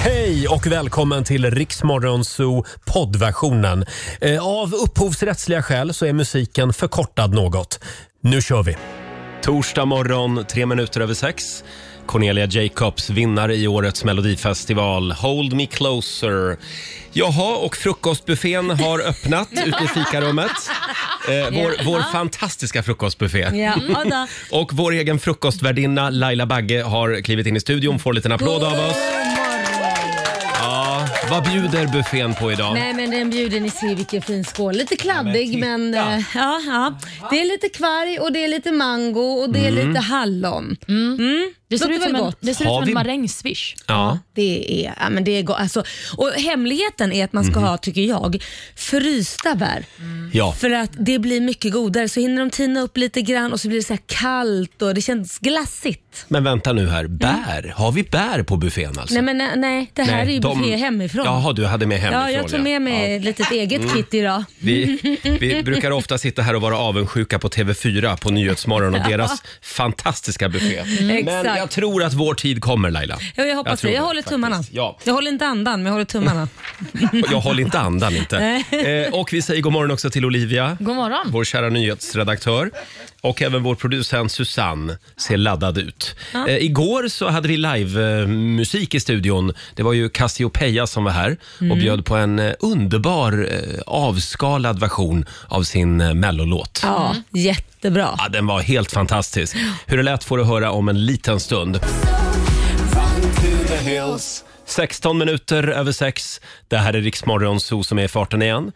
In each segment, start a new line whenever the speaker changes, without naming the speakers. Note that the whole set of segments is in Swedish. Hej och välkommen till Riksmorgonzoo poddversionen. Eh, Av upphovsrättsliga skäl så är musiken förkortad något. Nu kör vi! Torsdag morgon, tre minuter över sex. Cornelia Jacobs, vinnare i årets melodifestival, Hold Me Closer. Jaha, och frukostbuffén har öppnat ute i fikarummet. Eh, vår, vår fantastiska frukostbuffé.
Ja, Ada.
Och vår egen frukostvärdinna Laila Bagge har klivit in i studion, får en liten applåd av oss. Ja, vad bjuder buffén på idag?
Nej men den bjuder ni ser vilken fin skål. Lite kladdig men, eh, ja, ja. Det är lite kvarg och det är lite mango och det är
Mm.
lite hallon.
Det ser
Låter
ut som
väl
en,
gott.
det ser ut
Har
som en
vi-
marängsviss.
Ja.
Det är, ja, men det är gott. Alltså, och hemligheten är att man
Mhm.
ska ha, tycker jag, frysta bär.
ja.
För att det blir mycket godare. Så hinner de tina upp lite grann och så blir det så här kallt och det känns glassigt.
Men vänta nu här, bär? Har vi bär på buffén alltså?
Mm. Nej men nej, nej det här är ju buffé hemifrån.
Jaha, du hade med hemifrån
ja, jag tog med
Ja. Mm.
mig ett litet eget kit idag.
Vi, vi brukar ofta sitta här och vara avundsjuka på TV4 på Nyhetsmorgon och deras fantastiska buffé. Men
Mm. Exakt.
jag tror att vår tid kommer Laila.
Ja, jag hoppas
tror
det. Jag håller tummarna.
faktiskt. Ja.
Jag håller inte andan, men jag håller tummarna.
Jag håller inte andan inte. Eh, och vi säger god morgon också till Olivia.
God morgon.
Vår kära nyhetsredaktör. Och även vår producent Susanne ser laddad ut. Eh, igår så hade vi livemusik i studion. Det var ju Cassiopeia som var här
Mm.
och bjöd på en eh, underbar eh, avskalad version av sin eh, mellolåt. Ja.
Ja, Mm. jättebra.
den var helt fantastisk. Hur det lät får du höra om en liten stund. 16 minuter över sex. Det här är Riksmorgon Zoo som är i farten igen.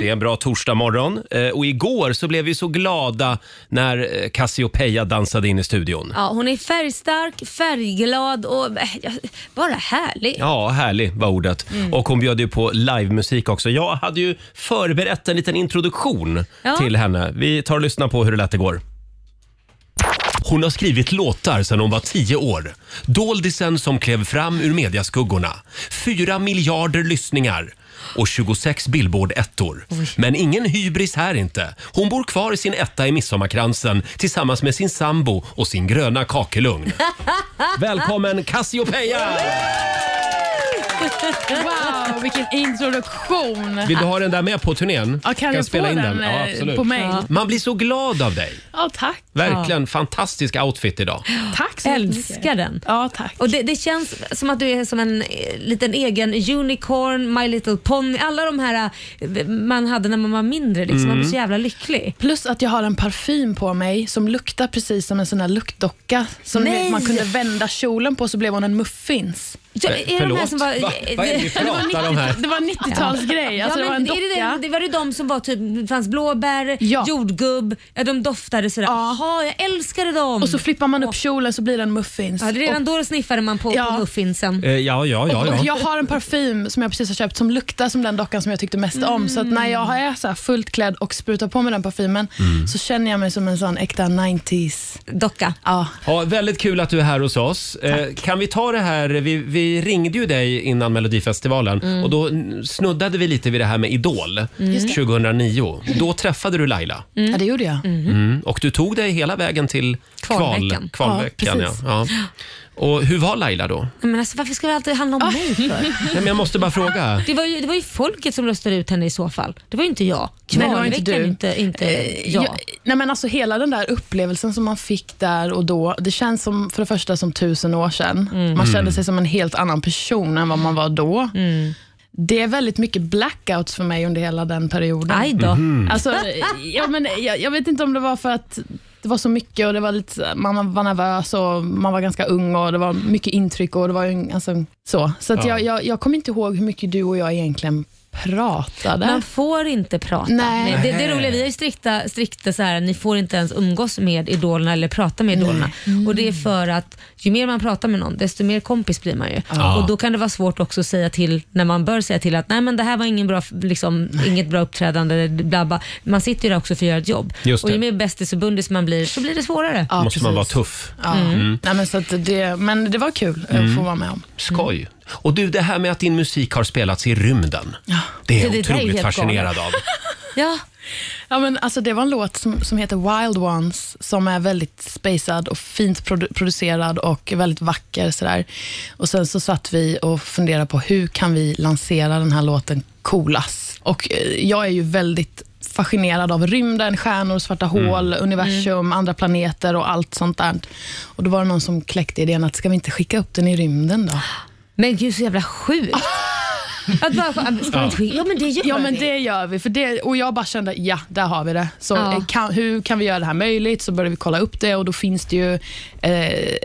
Det är en bra torsdagmorgon. Eh, och igår så blev vi så glada när eh, Cassiopeia dansade in i studion. Ja,
Ja, hon är färgstark, färgglad och eh, ja, bara härlig.
härlig var ordet. Och hon bjöd ju på livemusik också. Jag hade ju förberett en liten introduktion
Ja.
till henne. Vi tar och lyssnar på hur det lät igår. Hon har skrivit låtar sedan hon var tio år. Doldisen som klev fram ur mediaskuggorna. Fyra miljarder lyssningar och 26 Billboard-ettor. Men ingen hybris här inte. Hon bor kvar i sin etta i Midsommarkransen tillsammans med sin sambo och sin gröna kakelugn. Välkommen Cassiopeia!
Wow, vilken introduktion.
Vill du ha den där med på turnén?
Ja, kan
jag
jag få den,
Ja,
eh,
absolut.
på mig?
Ja.
Ja.
Man blir så glad av dig.
tack.
Verkligen fantastisk outfit idag.
Tack så mycket.
Älskar den.
Ja, tack.
Och det, det känns som att du är som en eh, liten egen unicorn, My Little Pony, alla de här eh, man hade när man var mindre. Liksom. Man blir
Mm.
så jävla lycklig.
Plus att jag har en parfym på mig som luktar precis som en sån här luktdocka som ni
Nej!
vet, man kunde vända kjolen på så blev hon en muffins.
Ja,
Eh,
är de här
förlåt?
som var,
Va? Vad är det vi
det-
pratar om här?
Det var en 90-talsgrej. Alltså,
ja,
det var
men
en
är det,
docka.
den- det var det de som var typ, det fanns blåbär,
Ja.
jordgubb, ja, de doftade sådär.
Ja.
Jaha, jag älskade dem.
Och så flippar man upp kjolen så blir det en muffins.
Ja, redan då sniffade man på,
Ja.
på muffinsen.
Eh, Ja, ja, ja. ja.
Och jag har en parfym som jag precis har köpt som luktar som den dockan som jag tyckte mest om. Så att när jag är så här fullt klädd och sprutar på mig den parfymen
Mm.
så känner jag mig som en sån äkta 90s.
Docka.
Ja.
Ja, väldigt kul att du är här hos oss. Eh, kan vi ta det här, vi, vi ringde ju dig innan Melodifestivalen
Mm.
och då snuddade vi lite vid det här med Idol 2009.
Mm.
Då träffade du Laila
ja, det gjorde jag.
Mm, och du tog dig hela vägen till kval,
Kvalveckan.
kvalveckan.
Ja,
Ja,
precis.
ja. Och hur var Laila då?
Nej, Men alltså, varför ska det alltid handla om mig för?
Nej, men jag måste bara fråga.
Det var, ju, det var ju folket som röstade ut henne i så fall. Det var ju inte jag.
Nej, det var inte
Kvalveckan
du. Eh,
inte, inte jag.
Jag, nej men alltså hela den där upplevelsen som man fick där och då, det känns som för det första som tusen år sedan.
Mm.
Man
Mm.
kände sig som en helt annan person än vad man var då.
Mm.
Det är väldigt mycket blackouts för mig under hela den perioden.
Aj då.
Mm.
Alltså, ja, men, jag, jag vet inte om det var för att det var så mycket och det var lite, man var nervös och man var ganska ung och det var mycket intryck och det var ju en- alltså, så. Så att
Ja.
jag, jag, jag kommer inte ihåg hur mycket du och jag egentligen pratade.
Man får inte prata.
Nej.
Det, det är roliga, vi är ju strikta, strikta så här, ni får inte ens umgås med idolerna eller prata med idolerna. Mm. Och det är
Mm.
för att ju mer man pratar med någon, desto mer kompis blir man ju.
Ja.
Och då kan det vara svårt också att säga till, när man bör säga till att nej men det här var ingen bra, liksom, inget bra uppträdande, eller bla bla. Man sitter ju där också för att göra ett jobb.
Just
Och ju
det.
mer bästis och bundis man blir, så blir det svårare.
Ja,
måste man vara Mm.
precis.
tuff.
Ja. Nej, men, så att det, men det var kul eh,
Mm.
att få vara med om.
Skoj. Och du, det här med att din musik har spelats i rymden. Det är
Det-
jag
det där är ju
otroligt
helt
fascinerad av.
Ja,
Ja, men alltså, det var en låt som, som heter Wild Ones, som är väldigt spacad och fint produ producerad och väldigt vacker. Sådär. Och Sen så satt vi och funderade på hur kan vi lansera den här låten coolast. Och eh, jag är ju väldigt fascinerad av rymden, stjärnor, svarta hål, universum, andra planeter och allt sånt där. Och Då var det någon som kläckte idén att ska vi inte skicka upp den i rymden då?
Men gud, så jävla sjukt. Att bara, ska man inte skicka? Ja, men det gör
Ja,
vi.
men det gör vi. För det, och jag bara kände, ja, där har vi det. Så
Ja.
eh, kan, hur kan vi göra det här möjligt? Så började vi kolla upp det och då finns det ju eh,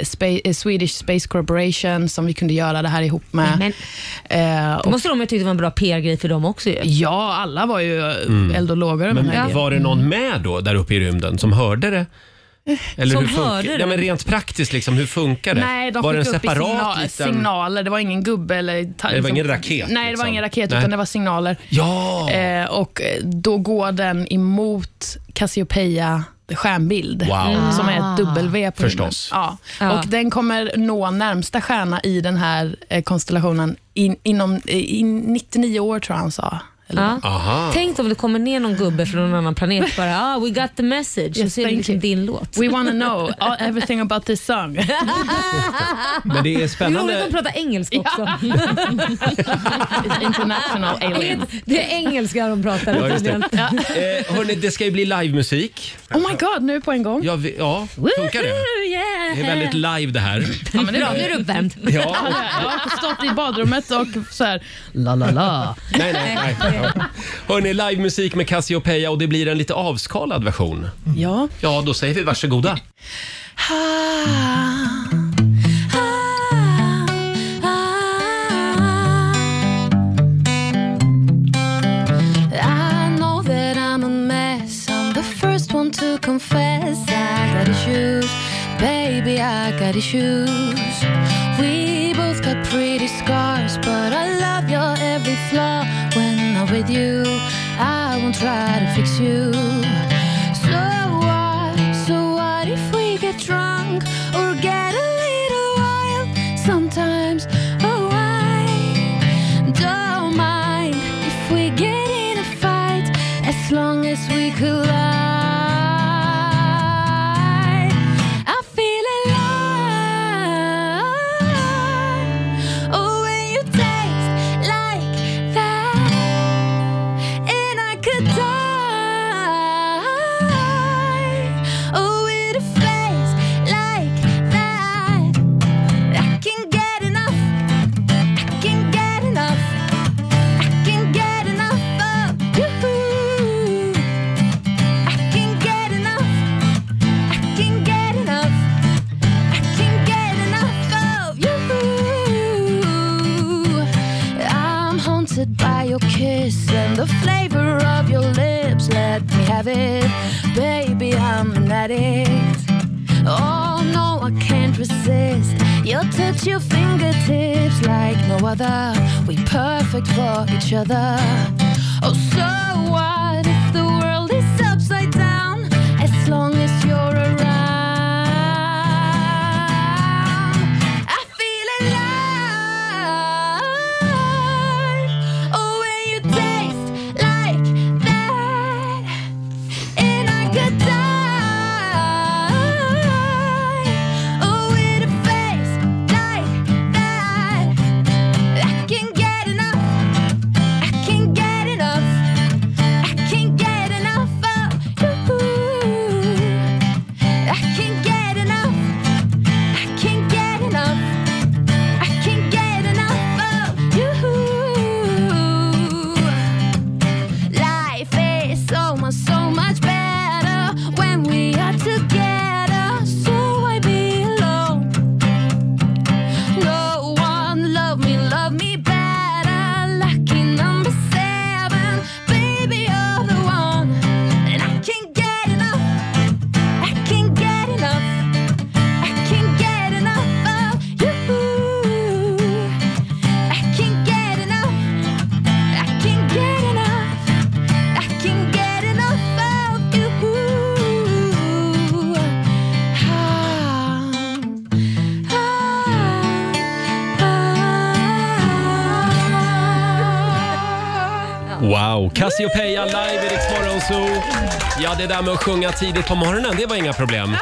Spa- eh, Swedish Space Corporation som vi kunde göra det här ihop med.
Men,
Eh,
då
och,
måste de ju tycka det var en bra PR-grej för dem också ju.
ja, alla var ju eld och lågor med den här
Mm. Men
idén.
var
Mm.
det någon med då där uppe i rymden som hörde det? Eller
Eh, Som
hur funkar-
hörde det?
Nej, men rent praktiskt, liksom, hur funkar det?
Nej, de
var det en
skickade upp i
separat
signal-
liten...
signaler. Det var ingen gubbe eller... ta-
Det var ingen raket,
Nej, det var
liksom.
ingen raket,
Nej.
utan det var signaler.
Ja!
Eh, och eh, då går den emot Cassiopeia stjärnbild.
Wow. Mm.
Som är ett
Ah.
W på
Förstås.
himlen. Ja.
Ja.
Och den kommer nå närmsta stjärna i den här eh, konstellationen in, inom eh, i 99 år tror jag han sa. Eller
Ja.
Aha.
Tänk om det kommer ner någon gubbe från någon annan planet bara ah, “We got the message” och
Yes,
så är det
thank
liksom
you.
din låt.
We wanna know all- everything about this song.
Men det är
Det är roligt att de
spännande.
pratar engelska också.
It's international alien.
Det är engelska de pratar.
Ja, just det.
tydligen.
Eh, hörni, det ska ju bli livemusik.
Oh my god, nu på en gång.
Ja, vi, ja, funkar det?
Woohoo, yeah.
Det är väldigt live det här.
Ja, men det är
Bra,
bra.
nu är du uppvärmd.
Ja,
Jag har stått i badrummet och så här, la la la.
nej, nej, nej. Ja. Hörni, livemusik med Cassiopeia och det blir en lite avskalad version.
Ja.
Ja, då säger vi varsågoda.
Ah,
I know that I'm a mess. I'm the first one to confess. I got issues, baby. I got issues. We both got pretty scars, but I love your every flaw. When I'm with you, I won't try to fix you. So what? So what if we get drunk or get a little wild? Sometimes, oh, I don't mind if we get in a fight as long as we collide. I feel alive. Oh, when you taste like that, and I could die. Oh, with a face like that, I can get enough. I can get enough. I can get enough of you. I can get enough. I can get enough. I can get enough of you. I'm haunted by your kiss and the flavor of your lips. Let me have it, baby. I'm an addict. Oh no, I can't resist. Your touch, your fingertips like no other. We perfect for each other. Oh, so what if the world is upside down? As long as you're around, I feel alive. Oh, when you taste like that. And I could die. Oh, with a face like that, I can get enough. I can get enough. Ah. Ah.
Wow! Cassiopeia live i Rix Morgon Zoo. Ja, det där med att sjunga tidigt på morgonen, det var inga problem.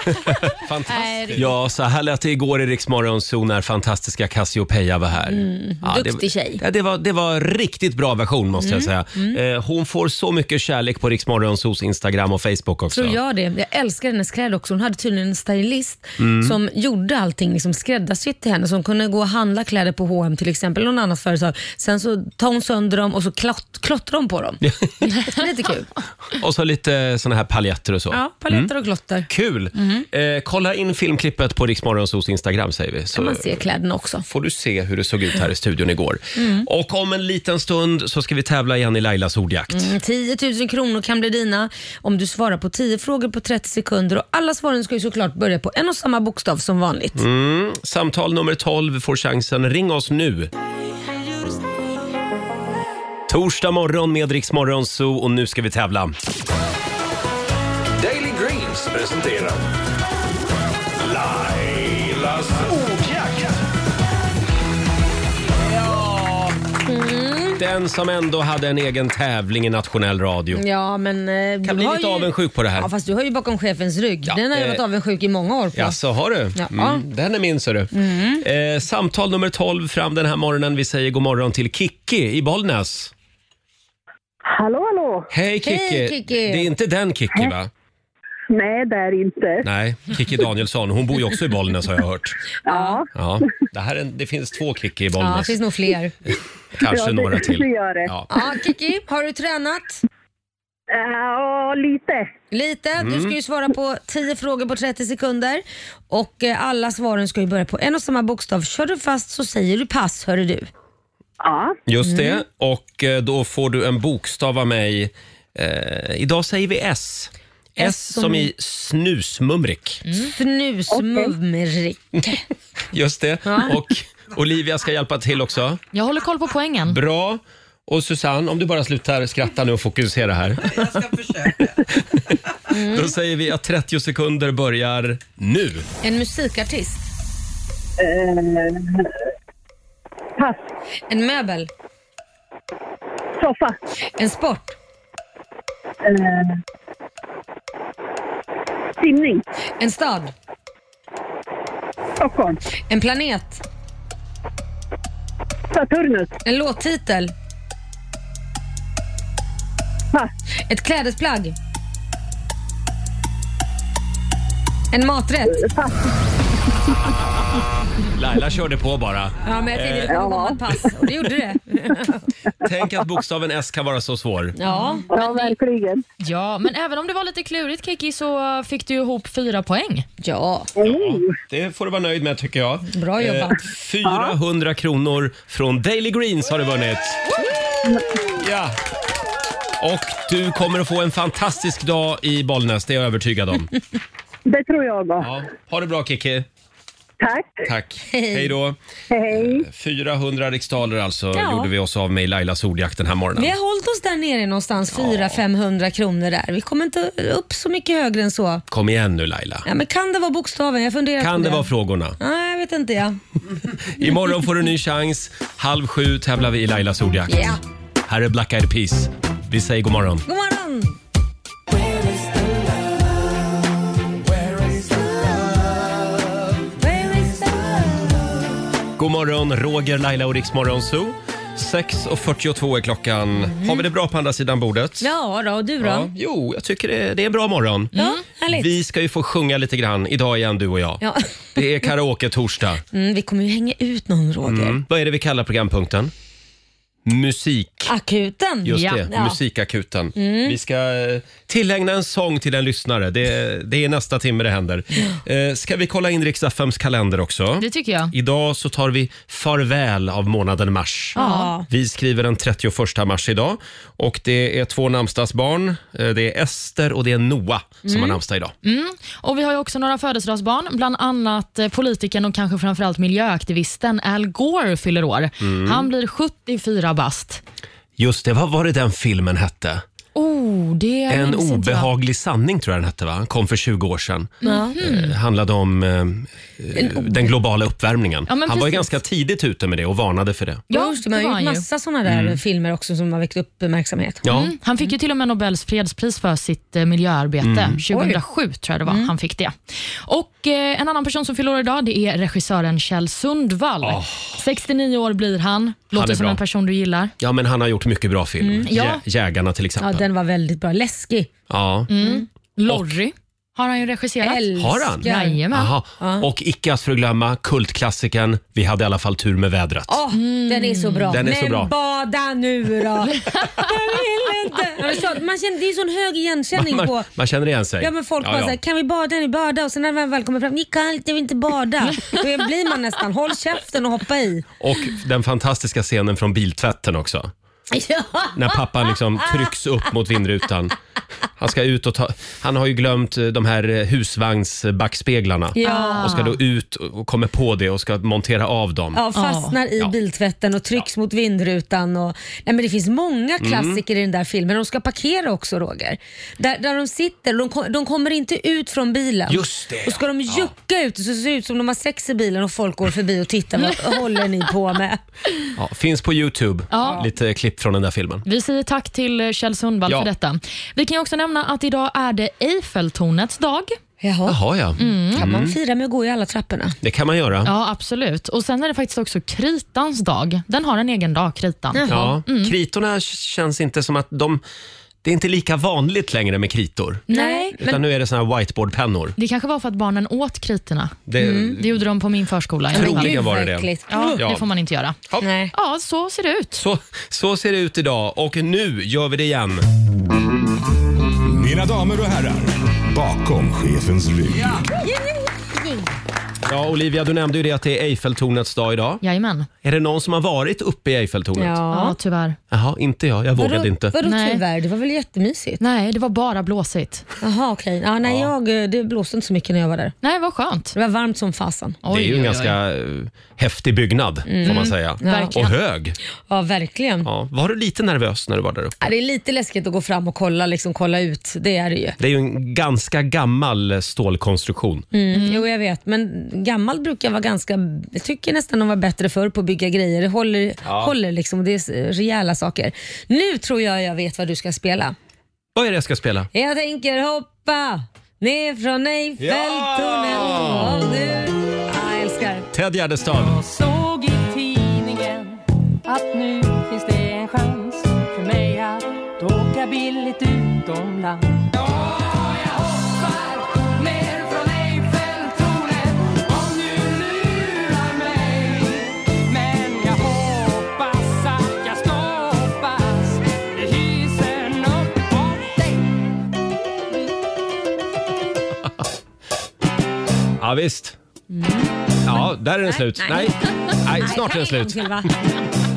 Fantastiskt. Ja, så här lät det igår i Rix Morgon Zoo när fantastiska Cassiopeia var här. ja, det-
Mm, duktig tjej. Mm,
Ja, det var, det var riktigt bra version måste jag säga. Eh, hon får så mycket kärlek på Rix Morgon Zoos Instagram och Facebook också.
Tror jag det. Jag älskar hennes kläder också. Hon hade tydligen en stylist
Mm.
som gjorde allting liksom skräddarsytt till henne. Så hon kunde gå och handla kläder på H&M till exempel, eller något annat företag. Sen så tar hon sönder dem och så klott, klottrar hon på dem. det är lite kul.
Och så lite såna här paljetter och så.
Ja, Mhm. paletter och klotter.
Kul! Eh, kolla in filmklippet på Rix Morgon Zoos Instagram säger vi. Så
Man ser kläderna också.
får du se hur det såg ut här i studion igår. Och om en liten stund så ska vi tävla igen i Lailas ordjakt.
10 000 kronor kan bli dina om du svarar på 10 frågor på 30 sekunder. Och Alla svaren ska ju såklart börja på en och samma bokstav som vanligt.
Mm. Samtal nummer 12 får chansen. Ring oss nu. Torsdag morgon med Rix Morgon Zoo och nu ska vi tävla.
Daily Greens presenterar Lailas ordjakt.
Den som ändå hade en egen tävling i nationell radio.
Ja, men... Eh,
Kan
du
bli
har
lite
ju-
avundsjuk på det här.
Ja, fast du har ju bakom chefens rygg.
Ja,
Den har jag
eh,
varit avundsjuk i många år på.
Ja, så har du?
Ja. Mm.
Mm, den är min, ser du. Eh, samtal nummer 12 fram den här morgonen. Vi säger god morgon till Kikki i Bollnäs.
Hallå, hallå!
Hej Kikki!
Kikki!
Det är inte den Kikki, va?
Nej, det är det inte.
Nej, Kikki Danielsson. Hon bor ju också i Bollnäs har jag hört.
Ja,
Ja, det, här är en, det finns två Kikki i
Ja, det
Bollnäs.
finns nog fler.
Kanske
ja, det-
några till.
det gör det.
Ja.
Ja, Kiki, har du tränat?
Eh, ja lite.
Lite.
Mm.
Du ska ju svara på 10 frågor på 30 sekunder. Och eh, alla svaren ska ju börja på en och samma bokstav. Kör du fast så säger du pass, hörru du.
Ja,
Just
Mm.
det. Och eh, då får du en bokstav av mig. Eh, idag säger vi S. S som i snusmumrik.
Mm.
Snusmumrik.
Just det. Och Olivia ska hjälpa till också.
Jag håller koll på poängen.
Bra. Och Susanne, om du bara slutar skratta nu och fokusera här. Jag ska försöka. Då säger vi att 30 sekunder börjar nu.
En musikartist.
Eh, pass.
En möbel.
Soffa.
En sport.
Eh, simning.
En stad.
Stockholm.
En planet.
Saturnus.
En låttitel.
Pass.
Ett klädesplagg. En maträtt.
Laila körde på bara.
Ja, men jag tänkte det kommer
Eh.
komma ett pass och det gjorde det.
Tänk att bokstaven S kan vara så svår.
Ja.
Ja, verkligen.
ja, men även om det var lite klurigt Kiki så fick du ihop fyra poäng.
Ja,
Det får du vara nöjd med tycker jag.
Bra jobbat.
400 kronor från Daily Greens har du vunnit. Ja. Och du kommer att få en fantastisk dag i Bollnäs, det är jag övertygad om.
Det tror jag också.
Ja. Ha det bra Kiki.
Tack.
Tack. Hej då.
Hej.
400 riksdaler alltså
Ja.
gjorde vi oss av med i Lailas ordjakt den här morgonen.
vi har hållit oss där nere någonstans, 400-500 kronor där. Vi kommer inte upp så mycket högre än så.
Kom igen nu Laila.
Ja, men kan det vara bokstaven? Jag funderar på
Kan det
det
vara frågorna?
Nej, jag vet inte. Ja.
Imorgon får du en ny chans. Halv sju tävlar vi i Lailas ordjakt.
Ja.
Här är Black Eyed Peas. Vi säger god morgon.
God morgon!
God morgon, Roger, Laila och Riksmorgon Zoo. 6.42 är klockan. Har vi det bra på andra sidan bordet?
Mhm. Ja då, och du då?
Ja, Jo, jag tycker det, det är en bra morgon.
Mm.
Ja, härligt.
Vi ska ju få sjunga lite grann idag igen, du och jag.
Ja.
Det är karaoke-torsdag.
Mm, vi kommer ju hänga ut någon, Roger.
Mm. Vad är det vi kallar programpunkten? Musik.
Akuten.
Just
Ja. Mm.
det,
Ja.
musikakuten. Vi ska eh, tillägna en sång till en lyssnare. Det, det är nästa timme det händer. Eh, Ska vi kolla in Rix FMs kalender också?
Det tycker jag.
Idag så tar vi farväl av månaden mars.
Ja.
Vi skriver den 31 mars idag och det är två namnsdagsbarn. Eh, Det är Ester och det är Noah som
Mm.
har namnsdag idag.
Och Vi har ju också några födelsedagsbarn, bland annat eh, politikern och kanske framförallt miljöaktivisten Al Gore fyller
Mm.
år. Han blir 74 bast.
Just det, vad var det den filmen hette?
Oh, Oh, det
En
minns inte jag.
obehaglig sanning tror jag den hette va? Kom för 20 år sedan. Eh, handlade om eh, eh, den globala uppvärmningen.
Ja,
Han
men
var ju
precis.
ganska tidigt ute med det och varnade för det.
Ja,
Ja,
det
man
var
har
han ju.
gjort massa sådana där filmer också som har väckt uppmärksamhet.
Ja.
Mm. Han fick ju till och med Nobels fredspris för sitt eh, miljöarbete.
Mm.
2007 tror jag det var han fick det. Och eh, En annan person som fyller år idag det är regissören Kjell Sundvall. 69 år blir han. Låter
är
som
bra.
en person du gillar.
ja, men han har gjort mycket bra film.
ja.
Jä- Jägarna till
Ja,
exempel. Ja,
den var väldigt bra. Läskig.
Lorry har han ju regisserat.
Älskar.
Har han?
Jajamän.
Aha. Och icke att förglömma kultklassikern Vi hade i alla fall tur med vädret.
Åh, Den är så bra.
Den är
Men
så bra.
bada nu då! Jag vill inte. Ja, men så- Man känner, det är sån hög igenkänning på
Man, man känner igen sig.
Ja men folk
Ja,
bara
ja.
såhär, kan vi bada nu? Bada och sen när man väl kommer fram, ni är kallt, jag vill inte bada. Då blir man nästan, håll käften och hoppa i.
Och den fantastiska scenen från biltvätten också.
Ja.
När pappan liksom trycks upp mot vindrutan. Han ska ut och ta... Han har ju glömt eh, de här eh, husvagnsbackspeglarna.
Ja.
Och ska då ut och och kommer på det och ska montera av dem.
Ja, fastnar
Ja.
i
Mm.
biltvätten och trycks mot vindrutan. Och, nej, men det finns många klassiker i den där filmen. De ska parkera också Roger. Där, där de sitter, de, ko- de kommer inte ut från bilen.
Just det,
Och ska de
ja.
jucka ut så ser det ut som de har sex i bilen och folk går förbi och tittar. Vad håller ni på med?
Ja, finns på Youtube,
Ja.
lite klipp från den där filmen.
Vi säger tack till eh, Kjell Sundvall
Ja.
för detta. Vi kan ju också nämna att idag är det Eiffeltornets dag.
Jaha,
Jaha, ja.
Mm.
Mm.
kan man fira med att gå i alla trapporna?
Det kan man göra.
Ja, absolut. Och Sen är det faktiskt också kritans dag. Den har en egen dag, kritan.
Ja.
Mm.
Kritorna k- känns inte som att de... Det är inte lika vanligt längre med kritor.
Nej,
Utan nu är det såna här whiteboardpennor.
Det kanske var för att barnen åt kritorna.
Det,
Det gjorde de på min förskola. i alla fall.
Troligen var det
Mm. Gud, vad
det.
äckligt.
Ja,
Ja.
det får man inte göra.
Ja.
Nej.
Ja, så ser det ut.
Så, så ser det ut idag och nu gör vi det igen.
Mina damer och herrar, bakom chefens rygg.
Ja, Olivia, du nämnde ju det att det är Eiffeltornets dag idag.
Jajamän.
Är det någon som har varit uppe i Eiffeltornet?
Ja,
Ja.
tyvärr.
Jaha, inte jag. Jag vågade
Vadå,
inte.
vadå
Nej.
tyvärr? Det var väl jättemysigt?
Nej, det var bara blåsigt.
Jaha okej. Ja, nej, jag, eh, det blåste inte så mycket när jag var där.
Nej, vad skönt.
Det var varmt som fasen.
det är ju en ganska eh, häftig byggnad får man säga.
verkligen.
Och hög.
Ja, verkligen.
Ja. Var du lite nervös när du var där uppe?
Ja, det är lite läskigt att gå fram och kolla, liksom, kolla ut. Det är det ju.
Det är ju en ganska gammal stålkonstruktion.
Mm. Jo, jag vet. Men gammal brukar vara ganska... Jag tycker nästan de var bättre förr på att bygga grejer. Det håller, håller liksom. Det är s- rejäla saker. Nu tror jag jag vet vad du ska spela.
Vad är det jag ska spela?
Jag tänker hoppa ner från Eiffeltornet.
Ja!
Om du... Ja, jag älskar.
Ted Gärdestad.
Såg i tidningen att nu finns det en chans för mig att åka billigt utomlands.
Ja, visst. Ja, där är den slut. Mm. Nej, Nej snart är den
En
slut.
gång till, va?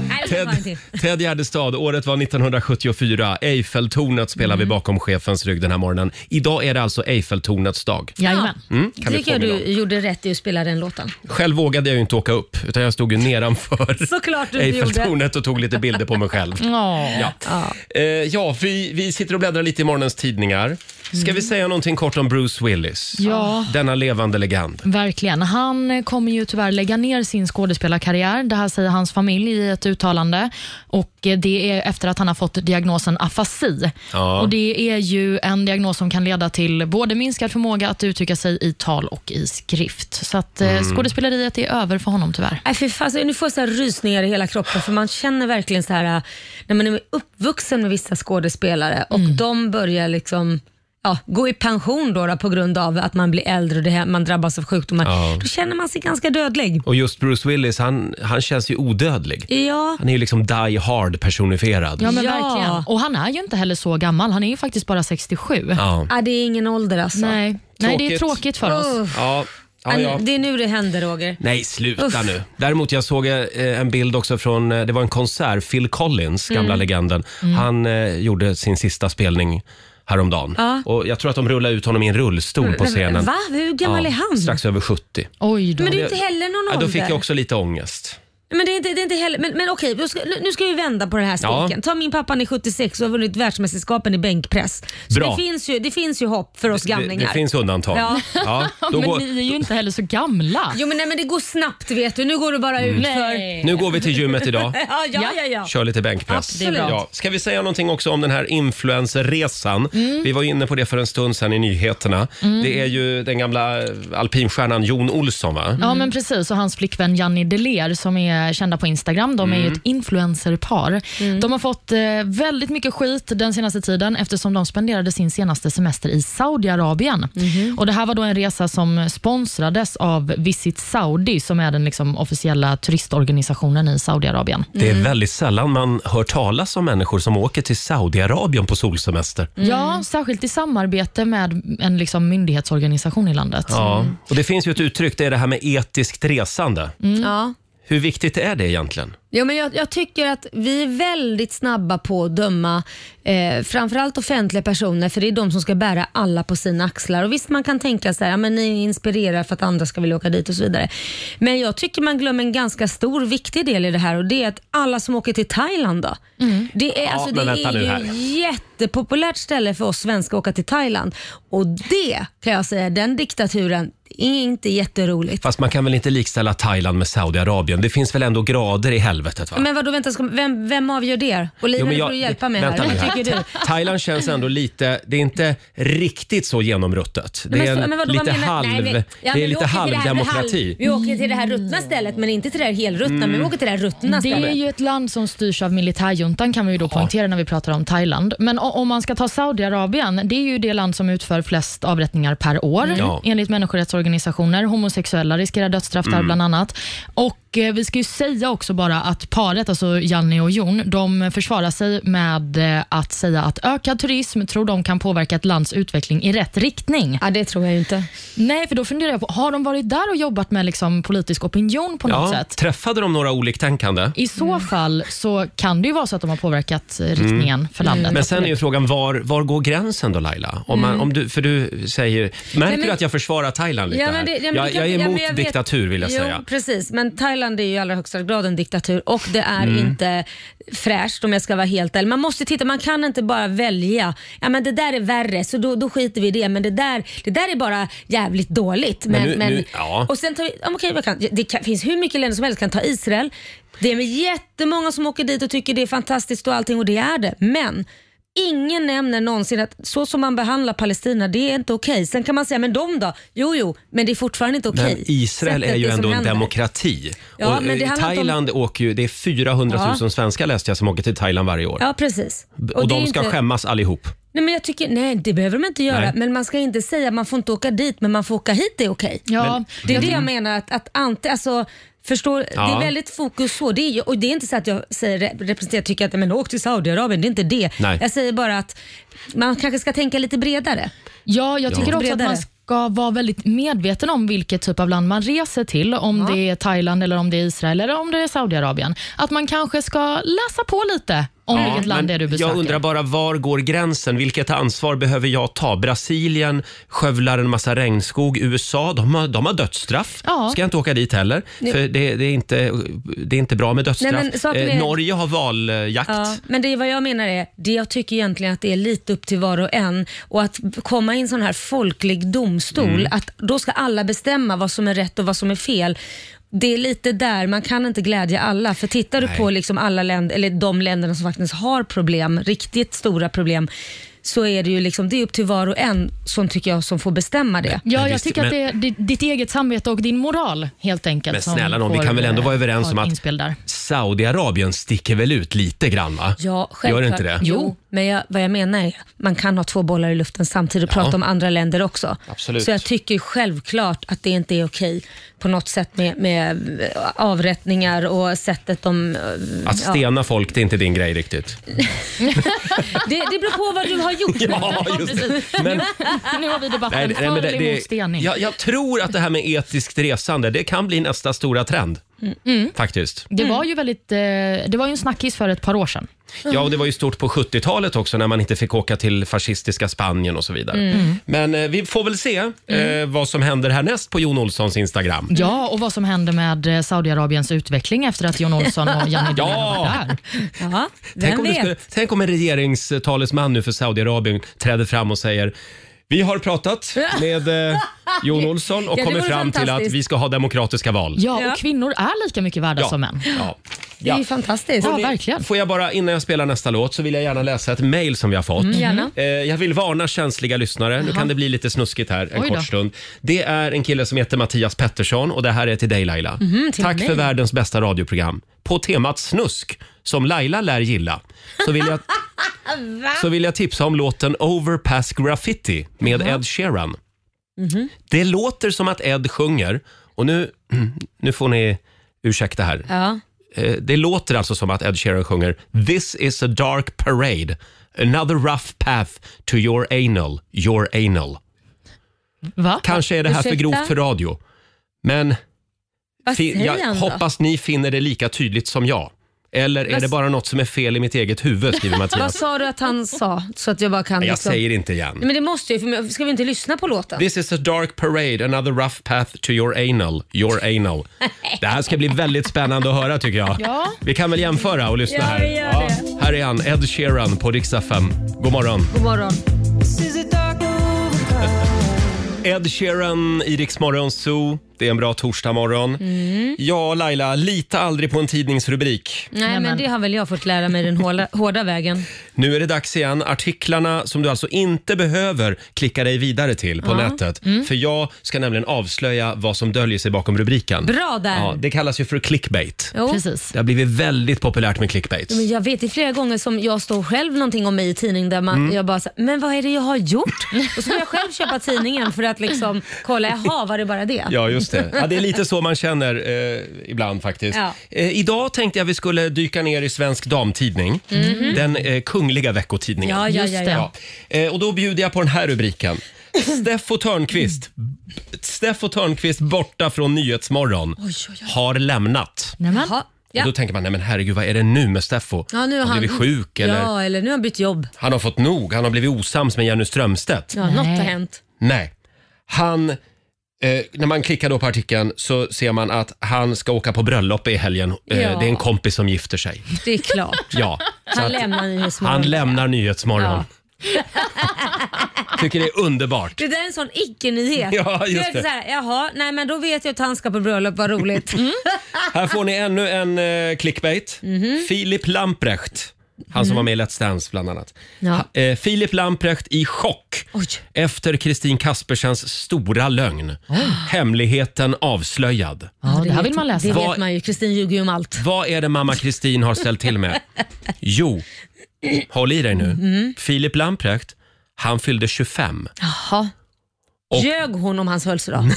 Nej, det var en till.
Ted, Ted Gärdestad, året var 1974. Eiffeltornet spelar
Mm.
vi bakom chefens rygg den här morgonen. Idag är det alltså Eiffeltornets dag.
Jajamän.
Mm, kan vi
tycker jag
påminna
du gjorde rätt i att spela den låten.
om. Själv vågade jag ju inte åka upp, utan jag stod ju nedanför
Såklart du inte gjorde. Mm.
Eiffeltornet och tog lite bilder på mig själv.
Ja.
Ja, eh, ja vi, vi sitter och bläddrar lite i morgonens tidningar. Ska
Mm.
vi säga någonting kort om Bruce Willis?
Ja.
Denna levande legend.
Verkligen. Han kommer ju tyvärr lägga ner sin skådespelarkarriär. Det här säger hans familj i ett uttalande. Och eh, Det är efter att han har fått diagnosen afasi.
Ja.
Och Det är ju en diagnos som kan leda till både minskad förmåga att uttrycka sig i tal och i skrift. Så att, eh,
Mm.
skådespeleriet är över för honom tyvärr.
Nej, fy fan, alltså, nu får jag så här rysningar i hela kroppen för man känner verkligen så här äh, när man är uppvuxen med vissa skådespelare och de börjar liksom Ja, gå i pension då, då på grund av att man blir äldre och det här, man drabbas av sjukdomar.
Ja.
Då känner man sig ganska dödlig.
Och just Bruce Willis, han, han känns ju odödlig.
Ja,
Han är ju liksom die hard personifierad.
Ja, men
Ja.
verkligen. Och han är ju inte heller så gammal. Han är ju faktiskt bara 67.
Ja.
ah, det är ingen ålder alltså.
Nej. Nej, det
Tråkigt.
är tråkigt för oss.
Uff.
Ja. Ja, ja.
Det är nu det händer Roger.
Nej, sluta
Uff.
nu. Däremot jag såg eh, en bild också från, eh, det var en konsert, Phil Collins, gamla
Mm.
legenden. Han eh, gjorde sin sista spelning häromdagen.
Ja.
Och jag tror att de rullade ut honom i en rullstol på scenen.
Va? Hur gammal
Ja,
är han?
Strax över 70.
Oj då.
Men det är inte heller någon
Ja,
ålder.
då fick jag också lite ångest.
Men det är inte, det är inte heller, men, men okej, då ska- nu- nu ska vi vända på den här
Ja.
steken. Ta min pappa, han är 76 och har vunnit världsmästerskapen i bänkpress. Så
Bra.
det finns, ju, det finns ju hopp för oss
Det,
gamlingar.
det finns undantag.
Ja.
Ja, då
men
går,
ni är ju inte heller så gamla.
Jo men, nej, men det går snabbt vet du. Nu går det bara
Mm.
ut för...
nu går vi till gymmet idag.
Ja, ja, ja, ja.
Kör lite bänkpress.
Det är bra.
Ja. Ska vi säga någonting också om den här influencerresan?
Mm.
Vi var ju inne på det för en stund sedan i nyheterna. Det är ju den gamla alpinstjärnan Jon Olsson va?
Ja, men precis. Och hans flickvän Janni Deler som är kända på Instagram, de är ju ett influencerpar. De har fått eh, väldigt mycket skit den senaste tiden eftersom de spenderade sin senaste semester i Saudiarabien. Och Det här var då en resa som sponsrades av Visit Saudi som är den liksom officiella turistorganisationen i Saudiarabien.
Det
Mm.
är väldigt sällan man hör talas om människor som åker till Saudiarabien på solsemester.
Mm.
Ja, särskilt i samarbete med en liksom myndighetsorganisation i landet.
Ja. Och det finns ju ett uttryck, det är det här med etiskt resande.
ja.
Hur viktigt är det egentligen?
Ja, men jag, jag tycker att vi är väldigt snabba på att döma eh, framförallt offentliga personer för det är de som ska bära alla på sina axlar. Och Visst man kan tänka så här, ja, men ni inspirerar för att andra ska vilja åka dit och så vidare. Men jag tycker man glömmer en ganska stor viktig del i det här och det är att alla som åker till Thailand då. Det är, alltså,
men
det
vänta
är
nu
ju
här.
jättepopulärt ställe för oss svenskar att åka till Thailand. Och det kan jag säga, den diktaturen, det är inte jätteroligt.
Fast man kan väl inte likställa Thailand med Saudiarabien? Det finns väl ändå grader i helvetet? Va?
Men vadå, vänta, ska, vem, vem avgör det? Olivia,
Jo, men
du får hjälpa mig
vänta
här.
nu
Vad
här.
tycker du?
Thailand känns ändå lite, det är inte riktigt så genomruttet. Det är
Men så-
en
men vadå, vad
lite
menar-
halv,
Nej, men- ja,
det är
men vi
lite
åker till det här med
halvdemokrati. Mm.
halv- Vi åker till det här ruttna stället men inte till det här helruttna. Men vi åker till det här ruttna
Det är
stället.
ju ett land som styrs av militärjuntan kan vi ju då poängtera när vi pratar om Thailand. Men o- om man ska ta Saudiarabien, det är ju det land som utför flest avrättningar per år
Mm. Ja.
enligt människorättsorganisationer. Homosexuella riskerar dödsstraff
Mm.
där bland annat. Och eh, vi ska ju säga också bara att paret, alltså Janni och Jon, de försvarar sig med eh, att säga att ökad turism tror de kan påverka ett lands utveckling i rätt riktning.
Ja, det tror jag ju inte.
Nej, för då funderar jag på, har de varit där och jobbat med liksom politisk opinion på något
Ja,
sätt?
träffade de några oliktänkande?
I så fall så kan det ju vara så att de har påverkat eh, riktningen för landet.
Mm. Men sen är ju frågan, var, var går gränsen då Laila? Om man, om du, för du säger, märker
Mm. men-
du att jag försvarar Thailand lite
Ja, men det-
här?
ja, men
jag,
det kan-
jag är
ja, men
emot
jag vet-
diktatur vill jag
jo,
säga.
precis. Men Thailand är ju i allra högsta grad en diktatur och det är
Mm.
inte fräscht om jag ska vara helt ärlig. Man måste titta, man kan inte bara välja. Ja, men det där är värre så då, då skiter vi i det. Men det där, det där är bara jävligt dåligt. Men,
nu- nu- ja.
Och sen tar vi, ja, okej, vad kan, det kan, finns hur mycket länder som helst kan ta Israel. Det är jättemånga som åker dit och tycker det är fantastiskt och allting och det är det. Men ingen nämner någonsin att så som man behandlar Palestina, det är inte okej. Sen kan man säga, men de då? Jo, jo, men det är fortfarande inte okej.
Men Israel
Sättet
är ju
det som
ändå en
händer.
demokrati.
Ja,
och
men det
eh,
handlar inte om-
Thailand åker ju, det är 400 000
Ja.
svenskar läste jag som åker till Thailand varje år.
Ja, precis.
Och,
det är
de ska
inte,
skämmas allihop.
Nej, men jag tycker, nej, det behöver de inte göra.
Nej.
Men man ska inte säga man får inte åka dit, men man får åka hit, det är okej.
Ja,
Det är det jag menar, att, att ante, alltså, förstår, det
Ja.
är väldigt fokus så. Det är, ju- och det är inte så att jag säger, rep- representerar tycker att men åk till Saudiarabien, det är inte det.
Nej.
Jag säger bara att man kanske ska tänka lite bredare.
ja jag tycker också att
Bredare.
man ska vara väldigt medveten om vilket typ av land man reser till. Om det är Thailand, eller om det är Israel eller om det är Saudiarabien. Att man kanske ska läsa på lite om vilket land det är du
Men
besöker.
jag undrar bara, var går gränsen? Vilket ansvar behöver jag ta? Brasilien skövlar en massa regnskog. USA, de har, de har dödsstraff.
Ja.
Ska jag inte åka dit heller. För det, det, är inte, det är inte bra med dödsstraff.
Nej, men saken
Eh,
är-
Norge har valjakt.
Ja, men det är vad jag menar är, det jag tycker egentligen att det är lite upp till var och en och att komma i en sån här folklig domstol, att då ska alla bestämma vad som är rätt och vad som är fel. Det är lite där, man kan inte glädja alla. För tittar du
Nej.
på liksom alla länder, eller de länderna som faktiskt har problem, riktigt stora problem, så är det ju liksom, det är upp till var och en som tycker jag som får bestämma det.
Ja,
Men
jag
visst,
tycker att det är di- ditt eget samvete och din moral helt enkelt.
Men
som
snälla nån, vi
får,
kan väl ändå vara
eh,
överens
ha
om
ett
att-
inspel där.
Saudiarabien sticker väl ut lite grann va?
Ja, självklart.
Gör det inte det?
Jo, men jag, vad jag menar är man kan ha två bollar i luften samtidigt och prata om andra länder också.
Absolut.
Så jag tycker självklart att det inte är okej på något sätt med, med eh, avrättningar och sättet de... eh,
Att
Mm,
stena folk, det är inte din grej riktigt.
Det, det beror på vad du har gjort.
Ja, just det. Men,
Nu har vi debatten
nej,
för
nej, men
eller
det,
emot stening.
det, jag, jag tror att det här med etiskt resande, det kan bli nästa stora trend.
Mm.
Faktiskt.
Det var ju väldigt, eh, det var ju en snackis för ett par år sedan.
Ja, och det var ju stort på 70-talet också när man inte fick åka till fascistiska Spanien och så vidare.
Mm.
Men eh, vi får väl se eh, vad som händer härnäst på Jon Olssons Instagram.
Ja, och vad som hände med eh, Saudiarabiens utveckling efter att Jon Olsson och Janni Dolin
Ja.
har varit där.
Ja,
Tänk
vem
om, det
vet?
skulle, tänk om en regeringstalesman nu för Saudiarabien träder fram och säger vi har pratat med eh, Jon Olsson och
Ja, det
kommit
vore
fram till att
fantastiskt.
vi ska ha demokratiska val.
Ja,
Ja.
och kvinnor är lika mycket värda som män.
Ja.
Det är ju fantastiskt.
Ja, verkligen.
Får jag bara, innan jag spelar nästa låt, så vill jag gärna läsa ett mejl som vi har fått.
Gärna.
Eh, jag vill varna känsliga lyssnare. Nu kan det bli lite snuskigt här en
Oj då.
kort stund. Det är en kille som heter Mattias Pettersson och det här är till dig Laila.
till
Tack
mig.
för världens bästa radioprogram. På temat snusk, som Laila lär gilla, så vill jag, så vill jag tipsa om låten Overpass Graffiti med Ed Sheeran. Det låter som att Ed sjunger och nu, nu får ni ursäkta här.
Ja.
Eh, det låter alltså som att Ed Sheeran sjunger “This is a dark parade, another rough path to your anal, your anal”.
Va?
Kanske är det här för
Ursäkta?
grovt för radio, men
Vad
fi-
säger
jag
han då?
hoppas ni finner det lika tydligt som jag. Eller är
Vad
det
s-
bara något som är fel i mitt eget huvud, skriver
Vad
Mattias.
sa du att han sa? Så att jag bara kan...
Jag
liksom-
säger inte igen.
Nej, Men det måste jag ju, för ska vi inte lyssna på låten?
This is a dark parade, another rough path to your anal, your anal. Det här ska bli väldigt spännande att höra tycker jag.
Ja.
Vi kan väl jämföra och lyssna
Ja,
här.
vi gör det.
Här är han, Ed Sheeran på Riksdag 5. God morgon.
God morgon.
Ed Sheeran i Rix Morgon Zoo. Det är en bra torsdagmorgon.
Mm.
Ja, Laila, lita aldrig på en tidningsrubrik.
Nej, men det har väl jag fått lära mig den hårda, hårda vägen.
Nu är det dags igen. Artiklarna som du alltså inte behöver klicka dig vidare till på nätet.
Mm.
För jag ska nämligen avslöja vad som döljer sig bakom rubriken.
Bra där!
Ja, det kallas ju för clickbait.
Jo.
Precis.
Det har blivit väldigt populärt med clickbait.
Men jag vet det är flera gånger som jag står själv någonting om mig i tidning där man, jag bara så, här, men vad är det jag har gjort? Och så får jag själv köpa tidningen för att liksom kolla, jaha var det bara det?
Ja, just det. Ja, det är lite så man känner eh, ibland faktiskt.
Ja.
Eh, idag tänkte jag vi skulle dyka ner i Svensk Damtidning, den eh, kungliga veckotidningen.
Mhm. Ja, ja,
Just
ja,
det.
ja.
Ja. Eh, och då bjuder jag på den här rubriken. Steffo Törnqvist, Steffo Törnqvist borta från Nyhetsmorgon har lämnat.
Nämen.
Jaha,
Och då
ja.
tänker man, nej men herregud vad är det nu med Steffo?
ja nu
han
har han
har blivit sjuk eller
Ja, eller nu har han bytt jobb.
han har fått nog, han har blivit osams med Jenny Strömstedt.
Ja, något har hänt.
Nej. Han, eh, när man klickar då på artikeln så ser man att han ska åka på bröllop i helgen. Eh,
Ja.
Det är en kompis som gifter sig.
Det är klart.
Ja. Så
Han
att
lämnar Nyhetsmorgon.
han lämnar Nyhetsmorgon.
Ja.
Tycker det är underbart.
Det där är en sån icke-nyhet.
Ja, just
Jag är
det.
Så här, jaha, nej men då vet jag att han ska på bröllop, vad roligt.
Här får ni ännu en eh, clickbait.
Mhm.
Filip Lamprecht. Han som var med i Let's Dance bland annat.
Ja.
Ha, eh, Filip Lamprecht i chock
Oj.
efter Kristin Kaspersens stora lögn.
Oh.
Hemligheten avslöjad.
Ja, det här vill man
Det
läsa.
Vad-
vet man ju, Kristin ljuger ju om allt.
Vad är det mamma Kristin har ställt till med? Jo, håll i dig nu. Filip Lamprecht, han fyllde 25.
Jaha.
Och-
Ljög hon om hans födelsedag?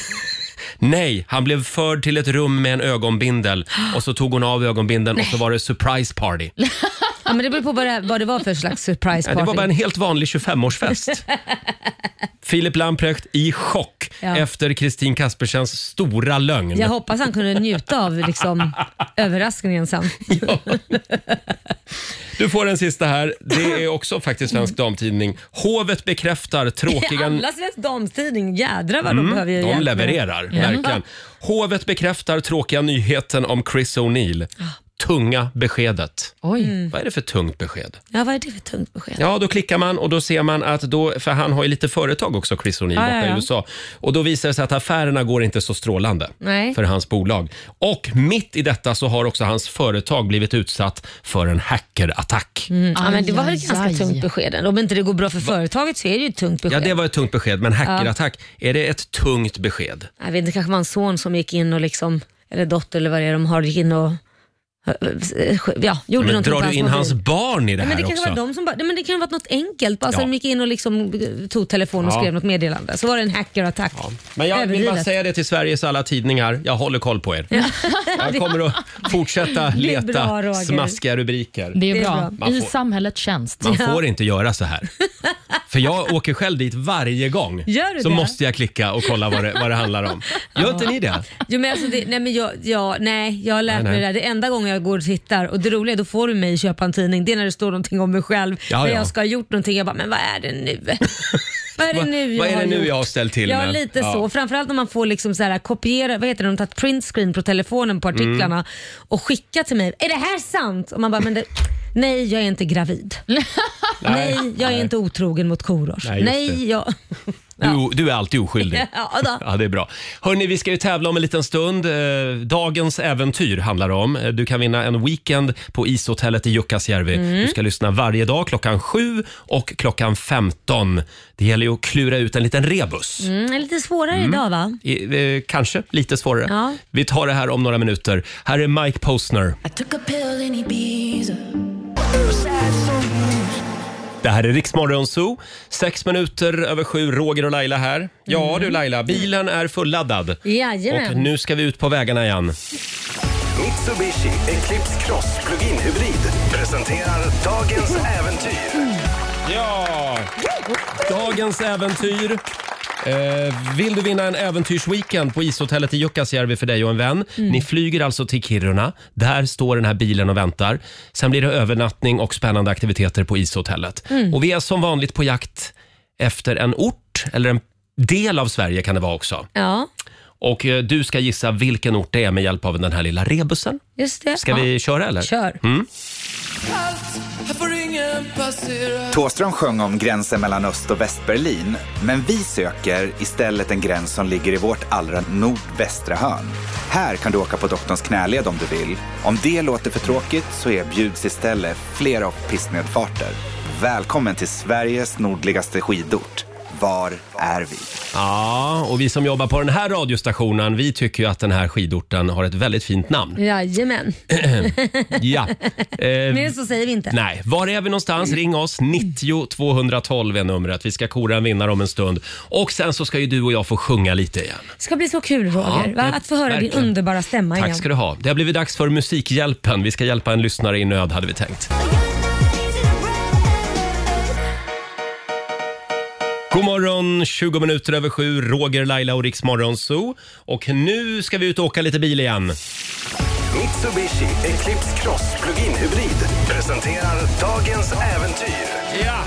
Nej, han blev förd till ett rum med en ögonbindel och så tog hon av ögonbindeln och så var det surprise party.
Ja, men det beror på vad det, vad det var för slags surprise
Ja,
party.
det var bara en helt vanlig 25-årsfest. Filip Lamprecht i chock
Ja.
efter Kristin Kaspersens stora lögn.
Jag hoppas han kunde njuta av liksom, överraskningen sen.
Du får den sista här. Det är också faktiskt Svensk Damtidning. Hovet bekräftar tråkiga... Mm,
Alla Svensk Damtidning, jädrar vad de behöver
De
hjälp med.
levererar,
Mm.
verkligen. Hovet bekräftar tråkiga nyheten om Chris O'Neill.
Ah.
Tunga beskedet.
Oj.
Mm.
Vad är det för tungt besked?
Ja, vad är det för tungt besked?
Ja, då klickar man och då ser man att då, för han har ju lite företag också, Chris O'Neill,
Ja,
borta
ja,
i
ja.
USA. Och då visar det sig att affärerna går inte så strålande
Nej.
för hans bolag. Och mitt i detta så har också hans företag blivit utsatt för en hackerattack.
Ja, men det var väl
Aj,
ett ganska
aj.
tungt besked ändå. Om inte det går bra för företaget så är det ju ett tungt
Ja,
besked.
det var ett tungt besked, men hackerattack, är det ett tungt besked?
Jag vet inte, det kanske var en son som gick in och liksom, eller dotter eller vad det är de har, gick in och ja, gjorde
Men
någonting
drar
på
du in
mobil.
hans barn i det
Nej, men
här
det kanske
också?
var de som bara, nej, men det kan ha varit något enkelt. Bara så
Ja.
de gick in och liksom eh, tog telefonen och
Ja.
skrev något meddelande. Så var det en hackerattack.
Men jag vill bara
Överdrivet.
säga det till Sveriges alla tidningar. Jag håller koll på er. Jag kommer att fortsätta
Det är
leta
bra, Roger.
smaskiga rubriker.
Det är,
Det är
bra.
bra.
Man
I
får-
samhällets tjänst.
Man
Ja.
får inte göra så här. För jag åker själv dit varje gång.
Gör du
så
det?
måste jag klicka och kolla vad det, vad det handlar om. Gör inte ni det?
Jo, men alltså det, nej, men jag, jag, nej, jag har
Nej,
lärt
nej.
mig det där. Det enda gången jag går och tittar och det roliga är då får du mig köpa en tidning. Det är när det står någonting om mig själv.
Ja,
när
ja.
jag ska ha gjort någonting. Jag bara, men vad är det nu? vad är det nu jag
vad är
har
det nu
gjort?
jag har ställt till
Ja,
med?
lite så. Framförallt när man får liksom så här, kopiera, vad heter det, de har tagit printscreen på telefonen
Mm.
på artiklarna och skicka till mig. Är det här sant? Och man bara, men det, nej jag är inte gravid. nej, jag är
Mm. nej.
inte otrogen mot Korosh.
Nej, just
Nej,
det.
jag...
Du, du är alltid oskyldig.
Ja, då.
Ja, det är bra. Hörni, vi ska ju tävla om en liten stund. Eh, Dagens äventyr handlar det om. Eh, Du kan vinna en weekend på ishotellet i Jukkasjärvi.
Mm.
Du ska lyssna varje dag klockan 7 och klockan 15. Det gäller ju att klura ut en liten rebus.
Mm, det är lite svårare idag va?
I, eh, kanske lite svårare.
Ja.
Vi tar det här om några minuter. Här är Mike Posner.
I took a pill in Ibiza.
Det här är Riksmorgon Zoo. Sex minuter över sju. Roger och Laila här. Ja
Mm.
du Laila, bilen är fulladdad. Och
Jajamän.
nu ska vi ut på vägarna igen.
Mitsubishi Eclipse Cross Plug-in Hybrid presenterar dagens äventyr.
Ja! Dagens äventyr. Eh, vill du vinna en äventyrsweekend på ishotellet i Jukkasjärvi för dig och en vän?
Mm.
Ni flyger alltså till Kiruna. Där står den här bilen och väntar. Sen blir det övernattning och spännande aktiviteter på ishotellet.
Mm.
Och vi är som vanligt på jakt efter en ort, eller en del av Sverige kan det vara också.
Ja,
Och eh, du ska gissa vilken ort det är med hjälp av den här lilla rebusen.
just det.
Ska
ja.
vi köra eller?
Kör.
Thåström sjöng om gränsen mellan Öst och Västberlin, men vi söker istället en gräns som ligger i vårt allra nordvästra hörn. Här kan du åka på doktorns knäled om du vill. Om det låter för tråkigt så erbjuds istället flera pissnedfarter. Välkommen till Sveriges nordligaste skidort. Var är vi?
Ja, och vi som jobbar på den här radiostationen, vi tycker ju att den här skidorten har ett väldigt fint namn.
Jajamän.
Ja. Eh,
Mer så säger vi inte.
nej, var är vi någonstans? Ring oss. 90 212 är numret. Vi ska kora en vinnare om en stund. Och sen så ska ju du och jag få sjunga lite igen.
Det ska bli så kul Roger,
Ja, det-
va? att få höra
verkligen.
din underbara stämma
Tack
igen.
ska du ha. Det har blivit dags för Musikhjälpen. Vi ska hjälpa en lyssnare i nöd hade vi tänkt. God morgon, 20 minuter över sju. Roger, Laila och Riks Morgonzoo. Och nu ska vi ut och åka lite bil igen.
Mitsubishi Eclipse Cross Plug-in Hybrid presenterar dagens äventyr.
Ja!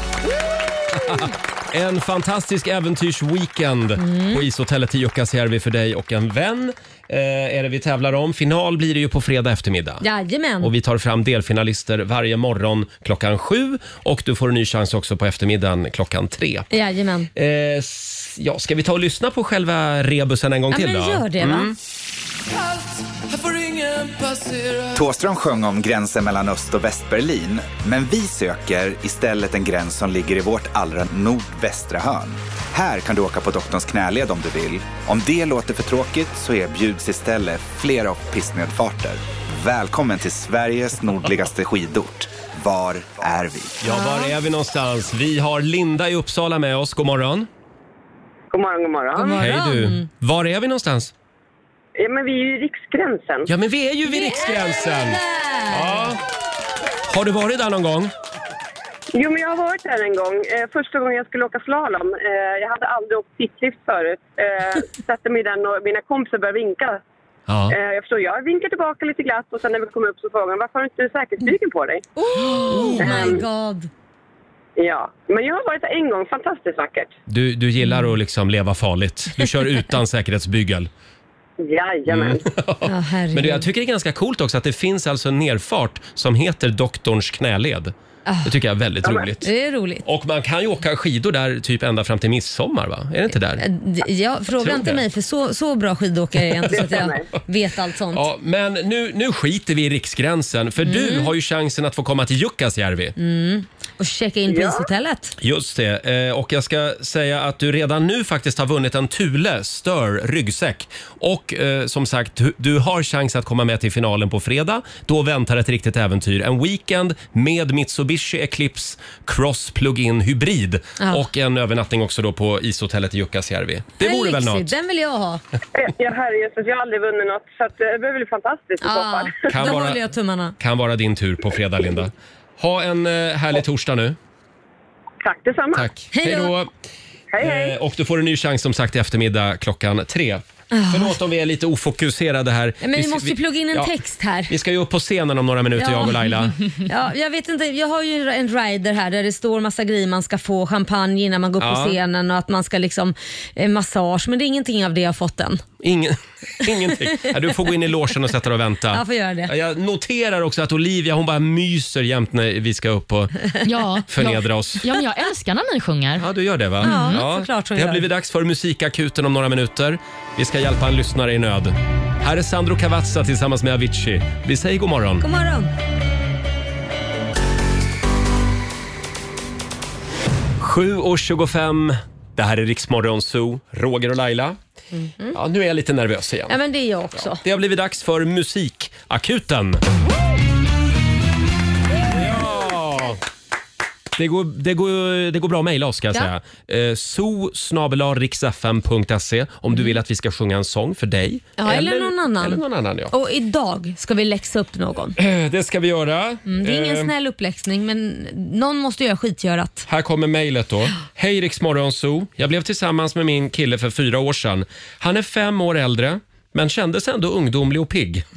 En fantastisk äventyrsweekend
Mm.
på ishotellet i Jukkasjärvi för dig och en vän. Eh, är det vi tävlar om. Final blir det ju på fredag eftermiddag.
Jajamän.
Och vi tar fram delfinalister varje morgon klockan sju och du får en ny chans också på eftermiddagen klockan tre.
Jajamän.
Eh, s- ja, ska vi ta och lyssna på själva rebusen en gång
Ja,
till
men
då? Mm.
gör det va?
Thåström sjöng om gränsen mellan Öst och Västberlin, men vi söker istället en gräns som ligger i vårt allra nordvästra hörn. Här kan du åka på doktorns knäled om du vill. Om det låter för tråkigt så erbjuds istället flera pissnedfarter. Välkommen till Sveriges nordligaste skidort. Var är vi?
Ja, var är vi någonstans? Vi har Linda i Uppsala med oss. God morgon.
God morgon, god morgon.
Morgon.
Hej
Mm.
du. Var är vi någonstans?
Ja, men vi är ju i Riksgränsen.
Ja, men vi är ju vid Riksgränsen. Ja. Har du varit där någon gång?
Jo, men jag har varit där en gång. Eh, första gången jag skulle åka slalom. Eh, jag hade aldrig åkt sittlift förut. Eh, satte mig i den och mina kompisar började vinka.
Ja.
Eh, jag förstår, jag vinkar tillbaka lite glatt och sen när vi kom upp så frågade de varför har du inte säkerhetsbyken på dig?
Oh my
Ehm.
god.
Ja, men jag har varit där en gång. Fantastiskt vackert.
Du, du gillar att liksom leva farligt. Du kör utan säkerhetsbygel.
Jajamän.
Mm.
Ja, herregud.
Men du, jag tycker det är ganska coolt också att det finns alltså en nerfart som heter doktorns knäled. Det tycker jag är väldigt
Ah. Ja, men,
roligt.
Det är roligt.
Och man kan ju åka skidor där typ ända fram till midsommar va? Är det inte
Eh,
där?
Ja,
Tror
fråga inte
det.
mig för så, så bra skidåkare är jag inte så att jag vet allt sånt.
Ja, men nu, nu skiter vi i riksgränsen för du
Mm.
har ju chansen att få komma till Jukkasjärvi.
Mm. Och checka in på ishotellet.
Just det. Eh, Och jag ska säga att du redan nu faktiskt har vunnit en Thule Stör ryggsäck. Och eh, som sagt, du- du har chans att komma med till finalen på fredag. Då väntar ett riktigt äventyr. En weekend med Mitsubishi Eclipse Cross Plug-in Hybrid.
Ja.
Och en övernattning också då på ishotellet i Jukkasjärvi. Det
Den
vore väl
lyxig,
något?
Den vill jag ha.
Ja, herrejösses, jag har aldrig vunnit något. Så att, eh, det blir väl fantastiskt i så fall.
Kan vara- håller jag
tummarna.
Kan vara din tur på fredag, Linda. Ha en eh, härlig torsdag nu.
Tack detsamma.
Tack.
Hej
då.
Hej, hej.
Eh, Och du får en ny chans som sagt i eftermiddag klockan tre.
Ah.
Förlåt om vi är lite ofokuserade här.
Men vi
s-
måste plugga in en
ja,
text här.
Vi ska ju upp på scenen om några minuter, jag och Laila.
ja, jag vet inte, jag har ju en rider här där det står massa grejer man ska få, champagne innan man går upp
Ja.
på scenen och att man ska liksom eh, massage, men det är ingenting av det jag har fått än.
Ingen, ingenting. Ja, du får gå in i logen och sätta dig och vänta.
Jag får göra det.
Ja, Jag noterar också att Olivia hon bara myser jämt när vi ska upp och
Ja,
förnedra
ja.
oss.
Ja, men jag älskar när ni sjunger.
Ja, du gör det va?
Ja, såklart hon
Det har
gör.
blivit dags för Musikakuten om några minuter. Vi ska hjälpa en lyssnare i nöd. Här är Sandro Cavazza tillsammans med Avicii. Vi säger god morgon.
God morgon.
7.25, det här är Riksmorgon Zoo, Roger och Laila.
Mhm.
Ja, nu är jag lite nervös igen.
Ja, men det är jag också.
Det har blivit dags för Musikakuten. Ja! Det går, det, går, det går bra att mejla oss ska jag
Ja.
säga. Eh, zoo.riksfm.se om du vill att vi ska sjunga en sång för dig.
Mm. Ja, eller, någon annan.
Eller någon annan ja.
Och idag ska vi läxa upp någon.
Eh, Det ska vi göra.
Mm, det är ingen
Eh,
snäll uppläxning, men någon måste göra skitgörat.
Här kommer mejlet då. Hej Rix Morgon Zoo. Jag blev tillsammans med min kille för fyra år sedan. Han är fem år äldre, men kändes ändå ungdomlig och pigg.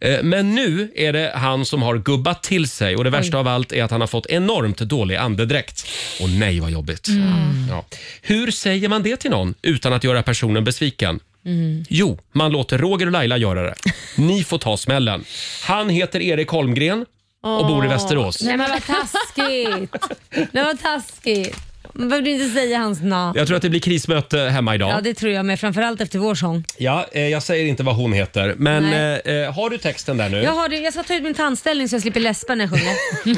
Eh, Men nu är det han som har gubbat till sig och det värsta av allt är att han har fått enormt dålig andedräkt. Och nej vad jobbigt.
Mm.
Ja. Hur säger man det till någon utan att göra personen besviken?
Mm.
Jo, man låter Roger och Laila göra det. Ni får ta smällen. Han heter Erik Holmgren och bor i
Åh.
Västerås.
Nej men vad taskigt. Nej vad taskigt. Man behövde inte säga hans namn.
Jag tror att det blir krismöte hemma idag.
Ja det tror jag med, framförallt efter vår sång.
Ja, eh, jag säger inte vad hon heter, men
Nej.
eh, eh, har du texten där nu?
Jag, har det, jag ska ta ut min tandställning så jag slipper läspa när jag sjunger.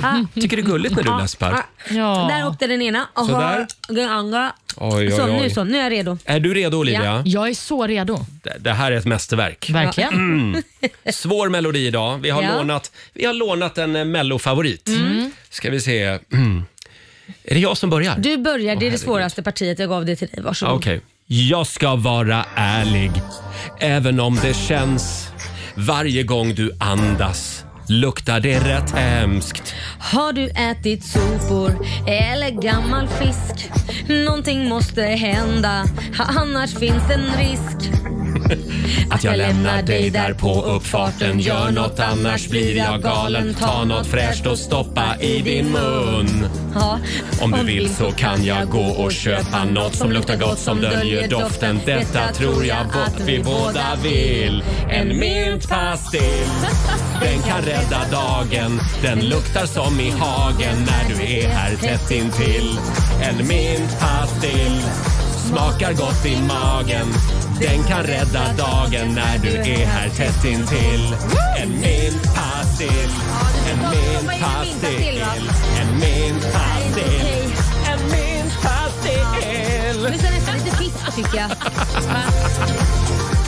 Ah.
Tycker det är gulligt när du läspar.
Ja. Ah. Där åkte den ena. Och
Sådär.
har-
Oj, oj,
Så
oj.
nu så, nu är jag redo.
Är du redo Olivia?
Jag är så redo.
Det, det här är ett mästerverk.
Verkligen.
Mm. Svår melodi idag. Vi har,
Ja.
lånat, vi har lånat en eh, mellofavorit. Ska vi se. Mm. Är det jag som börjar?
Du börjar, det är det
herregud.
svåraste partiet. Jag gav det till dig, varsågod.
Okej. Jag ska vara ärlig, även om det känns. Varje gång du andas luktar det rätt hemskt.
Har du ätit sopor eller gammal fisk? Någonting måste hända, annars finns en risk.
Att jag lämnar dig där på uppfarten Gör något annars blir jag galen Ta något fräscht och stoppa i din mun
Ja,
Om du vill så kan jag gå och köpa något som luktar gott som döljer doften Detta tror jag att vi båda vill En mintpastill Den kan rädda dagen Den luktar som i hagen när du är här tätt intill En mintpastill Smakar gott i magen Den kan rädda dagen när du är här tätt intill En mintpastill En mintpastill En mintpastill En mintpastill.
Nu ska nästan lite fisk tycker jag.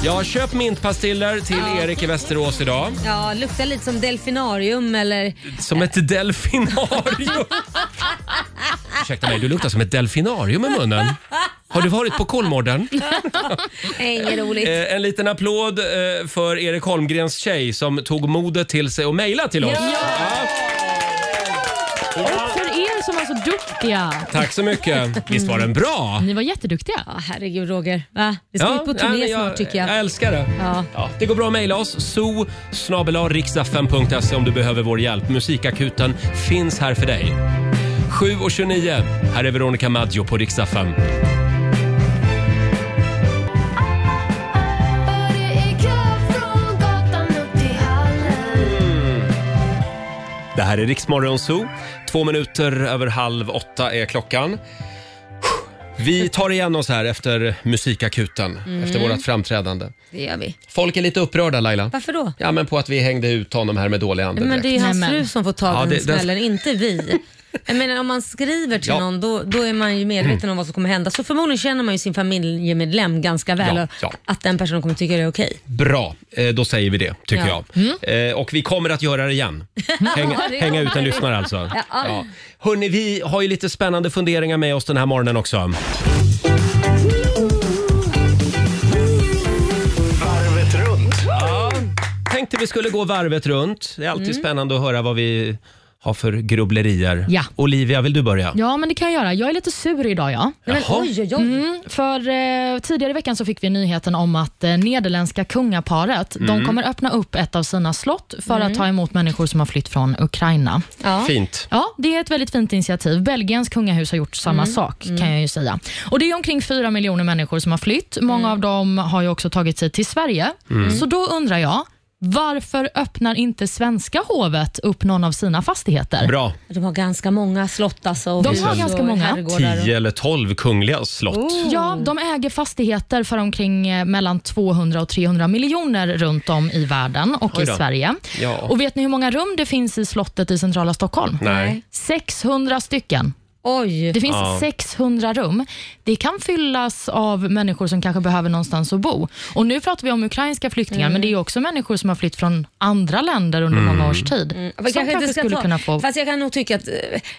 Ja, köp mintpastiller till
Ja.
Erik i Västerås idag.
Ja, luktar lite som delfinarium eller...
Som ett delfinarium. Ursäkta mig, du luktar som ett delfinarium i munnen. Har du varit på Kolmården?
Nej, Inget roligt.
Eh, en liten applåd eh, för Erik Holmgrens tjej som tog modet till sig och mejlade till oss.
Och för er som var så duktiga.
Tack så mycket. Visst var den bra?
Ni var jätteduktiga.
Ja, herregud Roger. Va? Vi ska ut på
nej,
turné
men
snart tycker jag.
Jag älskar det.
Ja.
Ja, det går bra att mejla oss. so om du behöver vår hjälp. Musikakuten finns här för dig. 7.29. Här är Veronica Maggio på Rix FM. Det här är Riksmorgon Zoo. Två minuter över halv åtta är klockan. Vi tar igen oss här efter musikakuten,
Mm.
efter vårt framträdande.
Det gör vi.
Folk är lite upprörda Laila.
Varför då?
Ja, men på att vi hängde ut honom här med dålig
Nej, men
andedräkt.
det är ju hans
Nej, men-
fru som får ta
Ja,
den
det- den-
smällen, inte vi. Jag menar, om man skriver till
Ja.
någon då, då är man ju medveten om vad som kommer hända. Så förmodligen känner man ju sin familjemedlem ganska väl
Ja,
och
ja.
att den personen kommer tycka det är okej.
Bra, eh, då säger vi det tycker
Ja. Mm.
jag. Eh, Och vi kommer att göra det igen. Häng,
Ja, det-
hänga ut en lyssnare alltså.
Ja.
Ja. Hörni, vi har ju lite spännande funderingar med oss den här morgonen också.
Varvet runt.
Ja, tänkte vi skulle gå varvet runt. Det är
Mm.
alltid spännande att höra vad vi har för grubblerier.
Ja.
Olivia, vill du börja?
Ja, men det kan jag göra. Jag är lite sur idag. Ja.
Nej, men Jaha. oj,
oj,
Mm, för eh, tidigare i veckan så fick vi nyheten om att eh, nederländska kungaparet
Mm.
de kommer öppna upp ett av sina slott för
Mm.
att ta emot människor som har flytt från Ukraina.
Fint.
Ja, det är ett väldigt fint initiativ. Belgiens kungahus har gjort samma
Mm.
sak
Mm.
kan jag ju säga. Och Det är omkring fyra miljoner människor som har flytt. Många
Mm.
av dem har ju också tagit sig till Sverige.
Mm.
Så då undrar jag, varför öppnar inte svenska hovet upp någon av sina fastigheter?
Bra.
De har ganska många slott alltså. och
De har
hus och
ganska många.
herrgårdar och-
Tio eller tolv kungliga slott.
Oh.
Ja, de äger fastigheter för omkring eh, mellan 200 och 300 miljoner runt om i världen och
Oj
i
då.
Sverige.
Ja.
Och Vet ni hur många rum det finns i slottet i centrala Stockholm?
Nej.
600 stycken.
Oj.
Det finns
Ja.
600 rum. Det kan fyllas av människor som kanske behöver någonstans att bo. Och Nu pratar vi om ukrainska flyktingar, men det är
Mm.
ju också människor som har flytt från andra länder under många års tid.
Mm.
Som kanske,
Vi kanske inte ska
skulle
ta,
kunna få...
Fast jag kan nog tycka att eh,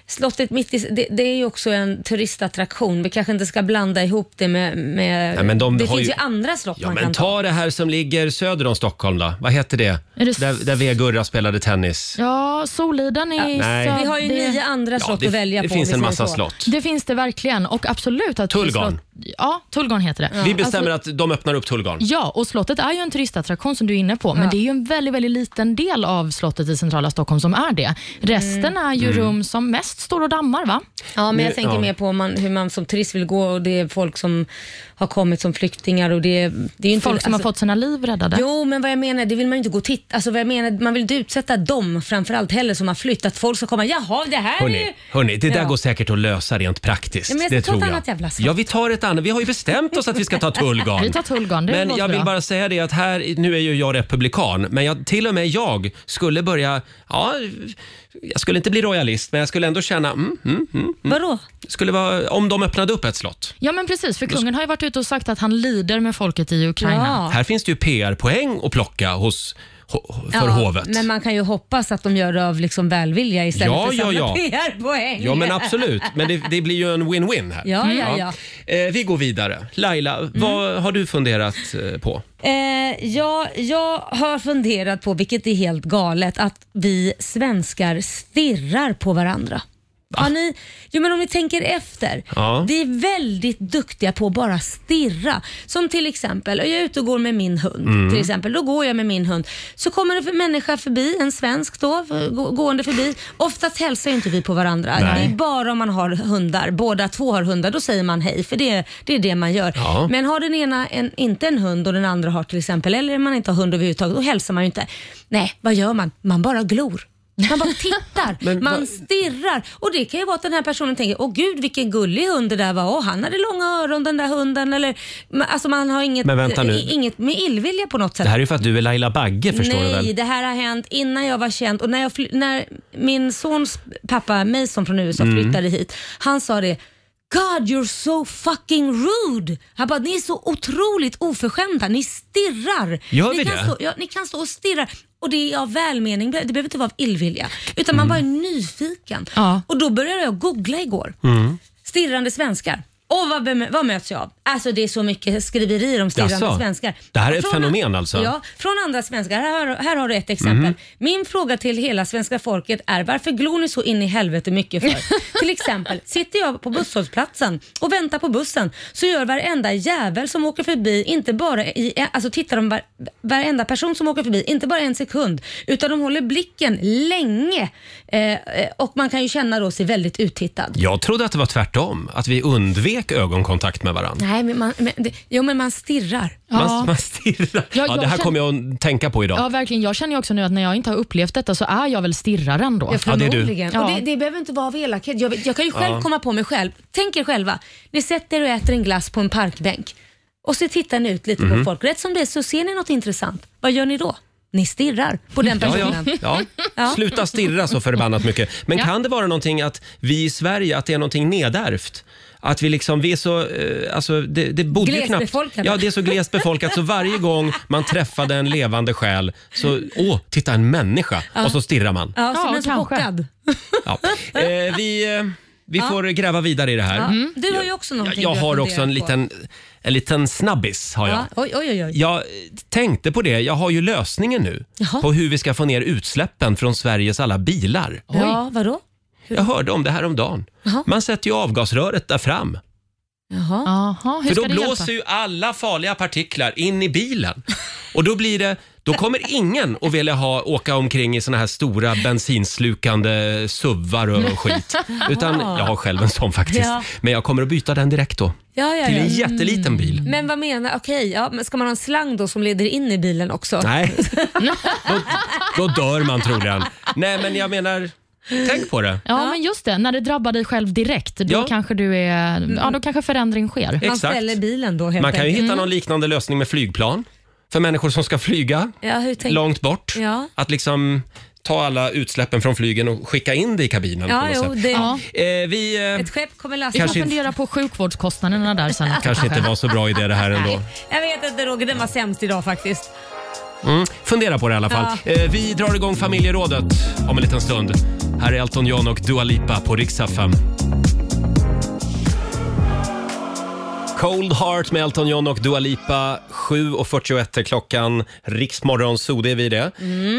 slottet mitt i, det, det är ju också en turistattraktion. Vi kanske inte ska blanda ihop det med... med
Nej, men de
det
har
finns ju,
ju-
andra slott
Ja,
man
men
kan ta.
ta det här som ligger söder om Stockholm då. Vad heter det?
Är det-
Där, där V-Gurra spelade tennis.
Ja, Soliden är...
Ja, nej.
så-
Vi
har ju nio andra
Ja, slott det- att välja det på, finns om vi en säger massa så. slott.
Det finns det verkligen och absolut att
Tullgarn.
slott- Ja, Tullgarn heter det.
Vi bestämmer
Alltså-
att de öppnar upp Tullgarn.
Ja, och slottet är ju en turistattraktion som du är inne på, men det är ju en väldigt, väldigt liten del av slottet i centrala Stockholm som är det. Resten är ju
Mm.
rum som mest står och dammar, va?
Ja, men
Nu-
jag tänker
ja.
mer på om man, hur man som turist vill gå och det är folk som har kommit som flyktingar och det, är- det är ju inte... alltså-
Folk som har fått sina liv räddade.
Jo, men vad jag menar, det vill man ju inte gå och titta. Alltså vad jag menar, man vill inte utsätta dem framförallt heller som har flytt. Att folk ska komma, jaha det här är ju...
Hörni, hörni, det där
Ja.
går säkert att lösa rent praktiskt.
Ja, men jag ska
det
ta
tror
ett
jag.
annat jävla slott.
ja, vi tar ett annat. Vi har ju bestämt oss att vi ska ta Tullgarn.
Vi tar Tullgarn, det
Men
låter
jag vill
bra.
bara säga det att här, nu är ju jag republikan, men jag, till och med jag skulle börja, ja, jag skulle inte bli royalist, men jag skulle ändå känna, mm, mm, mm, mm.
Vadå?
Skulle vara, om de öppnade upp ett slott.
Ja, men precis, för kungen har ju varit ute och sagt att han lider med folket i Ukraina.
Här finns det ju PR-poäng att plocka hos, ho- för hovet.
Men man kan ju hoppas att de gör det av liksom välvilja istället
Ja,
för
ja,
samla
ja.
PR-poäng.
Ja, men absolut. Men det, det blir ju en win-win här.
Ja, ja, ja. Mm.
Eh, vi går vidare. Laila, vad har du funderat eh, på?
Eh, ja, jag har funderat på, vilket är helt galet, att vi svenskar stirrar på varandra. Har ni, jo, men om ni tänker efter.
Ja.
Vi är väldigt duktiga på att bara stirra. Som till exempel, jag är ute och går med min hund.
Mm.
Till exempel, då går jag med min hund. Så kommer det en människa förbi, en svensk då, för- gå- gående förbi. Oftast hälsar ju inte vi på varandra.
Nej.
Det är bara om man har hundar. Båda två har hundar, då säger man hej. För det, det är det man gör.
Ja.
Men har den ena en, inte en hund och den andra har till exempel, eller man inte har hund överhuvudtaget, då hälsar man ju inte. Nej, vad gör man? Man bara glor. Man bara tittar, man stirrar. Och det kan ju vara att den här personen tänker, åh gud vilken gullig hund det där var. Åh, han hade långa öron den där hunden. Eller, men alltså man har inget,
Men vänta nu.
i- inget med illvilja på något sätt.
Det här är ju för att du är Laila Bagge förstår
Nej,
du väl?
det här har hänt innan jag var känd och när, jag fly- när min sons pappa Mason från USA
Mm.
flyttade hit, han sa det God you're so fucking rude! Han bara, ni är så otroligt oförskämda, ni stirrar.
Gör
ni
vi
kan
det?
Stå, ja, ni kan stå och stirra och det är av välmening, det behöver inte vara av illvilja. Utan
Mm.
man bara är nyfiken. Och då började jag googla igår.
Mm.
Stirrande svenskar. Och vad, bemö- vad möts jag av? Alltså det är så mycket skriverier om stirrande
Jaså?
svenskar.
Det här är ett
Från-
fenomen alltså?
Ja, från andra svenskar. Här, här har du ett exempel.
Mhm.
Min fråga till hela svenska folket är varför glor ni så in i helvete mycket för? till exempel, sitter jag på busshållplatsen och väntar på bussen så gör varenda jävel som åker förbi, inte bara i, alltså tittar de var, varenda person som åker förbi, inte bara en sekund, utan de håller blicken länge eh, eh, och man kan ju känna då sig väldigt uttittad.
Jag trodde att det var tvärtom, att vi undvek blek ögonkontakt med varandra?
Nej, men man, men, det, jo, men man stirrar.
Man, man stirrar. Ja,
Ja, jag
det här
känner-
kommer jag att tänka på idag.
Ja, verkligen. Jag känner ju också nu att när jag inte har upplevt detta så är jag väl stirraren då.
Ja,
Ja, det är du.
förmodligen. Och det, det behöver inte vara av elakhet. Jag, vet- jag kan ju själv
Ja.
komma på mig själv. Tänk er själva, ni sätter och äter en glass på en parkbänk och så tittar ni ut lite
Mhm.
på folk. Rätt som det är så ser ni något intressant. Vad gör ni då? Ni stirrar på den
Ja, ja,
personen.
ja.
Ja.
Sluta stirra så förbannat mycket. Men
Ja.
kan det vara någonting att vi i Sverige, att det är någonting nedärvt? Att vi liksom, vi är så, eh, alltså det, det bodde ju knappt...
Glesbefolkade.
Ja, det är så glest befolkat så varje gång man träffade en levande själ så, åh, titta en människa!
Ja.
Och så stirrar man.
Ja, så
Ja,
blir så
kanske.
chockad.
Ja. Eh, vi eh, vi
Ja.
får gräva vidare i det här.
Ja. Du har ju också
Jag,
någonting
jag
du
har
funderat
också en
på.
liten, en liten snabbis. Har jag.
Ja. Oj, oj, oj. oj.
Jag eh, tänkte på det, jag har ju lösningen nu
Jaha.
på hur vi ska få ner utsläppen från Sveriges alla bilar.
Ja, vadå?
Jag hörde om det här om dagen.
Jaha.
Man sätter ju avgasröret där fram.
Jaha.
Jaha, hur
För då
ska det hjälpa?
blåser ju alla farliga partiklar in i bilen. Och då blir det, då kommer ingen att vilja ha, åka omkring i såna här stora bensinslukande suvar och skit. Utan jag har själv en sån faktiskt.
Ja.
Men jag kommer att byta den direkt då.
Ja, ja,
Till
ja. Mm.
en jätteliten bil.
Men vad menar, okej, ja, men ska man ha en slang då som leder in i bilen också?
Nej, då, då dör man troligen. Nej, men jag menar, tänk på det.
Ja, men just det. När det drabbar dig själv direkt, då,
Ja. Mm.
kanske, du är, ja, då kanske förändring sker.
Man
Exakt.
ställer bilen då helt
Man kan ju
enkelt. Mm.
hitta någon liknande lösning med flygplan. För människor som ska flyga
Ja, hur tänk...
långt bort.
Ja.
Att liksom ta alla utsläppen från flygen och skicka in det i kabinen. på
Ja,
något
jo,
sätt.
det,
Ja.
Eh, vi eh,
ett skepp kommer
Vi
lasta.
kan
Kanske inte-
fundera på sjukvårdskostnaderna där sen.
kanske inte var så bra idé det här ändå.
Jag vet inte Roger, den var sämst idag faktiskt.
Mm, fundera på det i alla fall. Eh, vi drar igång familjerådet om en liten stund. Här är Elton John och Dua Lipa på riksdag 5. Cold Heart med Elton John och Dua Lipa. 7.41 är klockan. Riksmorgon, så det är vi det.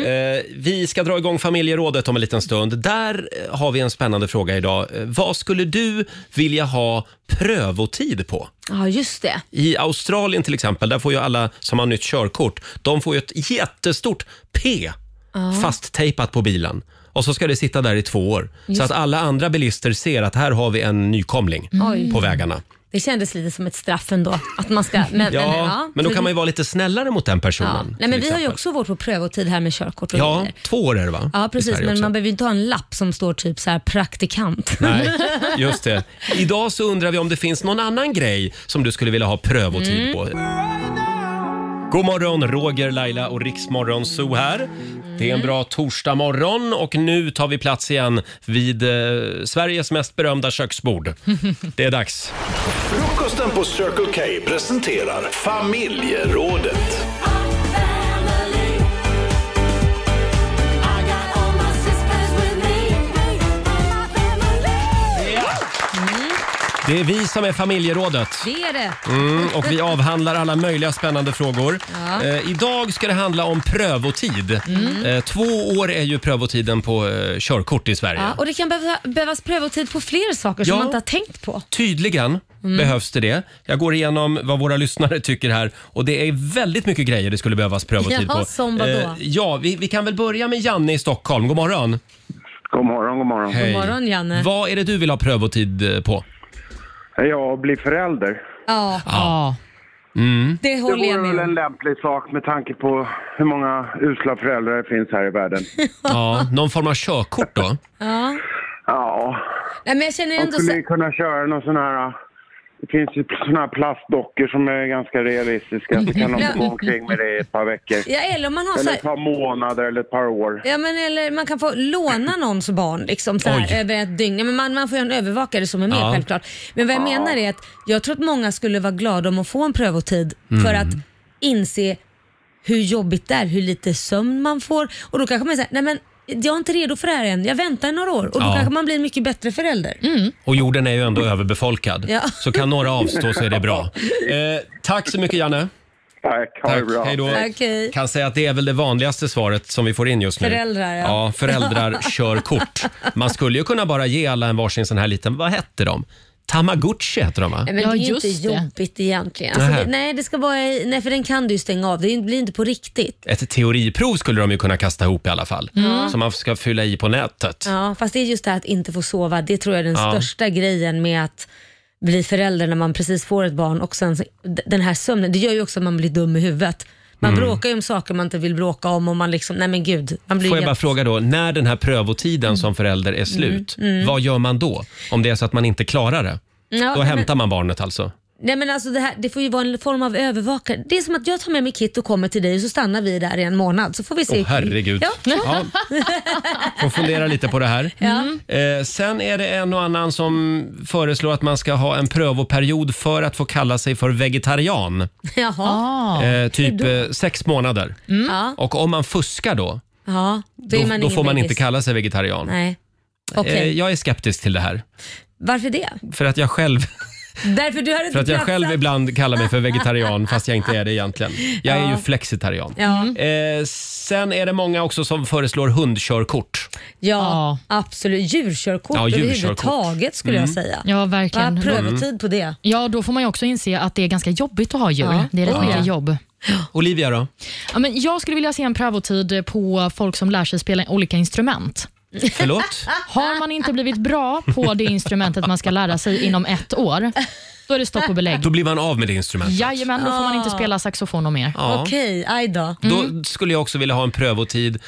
Eh, vi ska dra igång familjerådet om en liten stund. Där eh, har vi en spännande fråga idag. Eh, vad skulle du vilja ha prövotid på?
Ja, just det.
I Australien till exempel, där får ju alla som har nytt körkort, de får ju ett jättestort P fasttejpat på bilen. Och så ska det sitta där i två år. Så att alla andra bilister ser att här har vi en nykomling
Oj.
på vägarna.
Det kändes lite som ett straff ändå. Att man ska, men,
Ja,
men,
men,
ja.
då kan man ju vara lite snällare mot den
ja.
personen.
Nej, men
till
Vi har ju
exempel.
också vårt på prövotid här med körkort och
Ja,
grejer.
två år är det va?
Ja,
I
precis.
Sverige
Men
också.
man behöver ju inte ha en lapp som står typ så här praktikant.
Nej, just det. Idag så undrar vi om det finns någon annan grej som du skulle vilja ha prövotid
Mm.
på. God morgon, Roger, Laila och Riksmorgon Zoo här. Det
Mm.
är en bra torsdagmorgon och nu tar vi plats igen vid eh, Sveriges mest berömda köksbord. Det är dags.
Frukosten på Circle K presenterar familjerådet.
Det är vi som är familjerådet.
Det är det.
Mm, och vi avhandlar alla möjliga spännande frågor.
Ja. Mm.
Eh, idag ska det handla om prövotid. Eh, två år är ju prövotiden på eh, körkort i Sverige.
Ja, och det kan behöva, behövas prövotid på fler saker
Ja.
som man inte har tänkt på.
Tydligen
Mm.
behövs det det. Jag går igenom vad våra lyssnare tycker här och det är väldigt mycket grejer det skulle behövas prövotid
Jaha,
på.
som vadå?
Eh, ja, vi, vi kan väl börja med Janne i Stockholm. God morgon!
God morgon, god morgon.
Hej.
morgon, Janne.
Vad är det du vill ha prövotid eh, på?
Jag blir förälder.
Ja,
Ja.
Mm.
det
Det
håller jag
vore väl
med
en
om.
lämplig sak med tanke på hur många usla föräldrar det finns här i världen.
Ja, någon form av körkort då?
Ja.
Ja,
Nej, men jag känner
de
ändå
skulle
så...
ju kunna köra någon sån här... Det finns ju såna här plastdockor som är ganska realistiska. Så kan de gå omkring med det i ett par veckor.
Ja, eller om man har så
Eller
här...
ett par månader eller ett par år.
Ja, men eller man kan få låna någons barn liksom, så
Oj.
här, över ett dygn. Ja, men man, man får ju en övervakare som är med
Ja.
självklart. Men vad jag menar är att jag tror att många skulle vara glada om att få en prövotid för
Mm.
att inse hur jobbigt det är, hur lite sömn man får. Och då kanske man säger, nej men jag är inte redo för det här än, jag väntar några år. Och då
Ja.
kanske man blir en mycket bättre förälder.
Mm.
Och jorden är ju ändå överbefolkad.
Ja.
Så kan några avstå så är det bra. Eh, tack så mycket Janne.
Tack, ha det
Tack,
bra.
hej då.
Okej.
Kan säga att det är väl det vanligaste svaret som vi får in just nu.
Föräldrar,
ja.
ja.
föräldrar kör kort. Man skulle ju kunna bara ge alla en varsin sån här liten, vad hette de? Tamagotchi heter de va?
Nej, men
Ja,
det är ju
just
inte
det.
jobbigt egentligen. Alltså,
Nähä.
det, nej, det ska vara, i- nej, för den kan du ju stänga av. Det blir inte på riktigt.
Ett teoriprov skulle de ju kunna kasta ihop i alla fall.
Mm.
Som man ska fylla i på nätet.
Ja, fast det är just det här att inte få sova. Det tror jag är den
Ja.
största grejen med att bli förälder när man precis får ett barn och sen så- d- den här sömnen, det gör ju också att man blir dum i huvudet. Man
Mm.
bråkar ju om saker man inte vill bråka om och man liksom, nej men gud. Man blir
Får jag
helt-
bara fråga då, när den här prövotiden som förälder är slut,
mm.
vad gör man då? Om det är så att man inte klarar det?
Ja,
då
men-
hämtar man barnet alltså?
Nej men alltså det, här, det får ju vara en form av övervakare. Det är som att jag tar med mig Kit och kommer till dig och så stannar vi där i en månad så får vi se.
Åh herregud.
Ja.
Ja. Får fundera lite på det här.
Ja.
Eh, sen är det en och annan som föreslår att man ska ha en prövoperiod för att få kalla sig för vegetarian.
Jaha. Ah.
Eh, typ eh, sex månader.
Ja.
Och om man fuskar då,
ja, Mm. då, är
då,
man
då
ingen
får man
veggis.
inte kalla sig vegetarian.
Nej. Okej.
Eh, jag är skeptisk till det här.
Varför det?
För att jag själv
Därför du har inte
För att jag
platsat.
själv ibland kallar mig för vegetarian fast jag inte är det egentligen. Jag är
Ja.
ju flexitarian.
Ja.
Eh, sen är det många också som föreslår hundkörkort.
Ja, absolut. Djurkörkort,
Ja, djurkörkort.
överhuvudtaget skulle jag
Mm.
säga.
Ja, verkligen.
Va? Prövotid på det.
Ja, då får man ju också inse att det är ganska jobbigt att ha djur.
Ja.
Det är rätt
Ja.
mycket jobb.
Ah.
Olivia då?
Ja, men jag skulle vilja se en prövotid på folk som lär sig spela olika instrument.
Förlåt?
Har man inte blivit bra på det instrumentet man ska lära sig inom ett år, då är det stopp och belägg.
Då blir man av med det instrumentet.
Jajamän, då får man inte spela saxofon och mer.
Ja.
Okej, aj då.
Då skulle jag också vilja ha en prövotid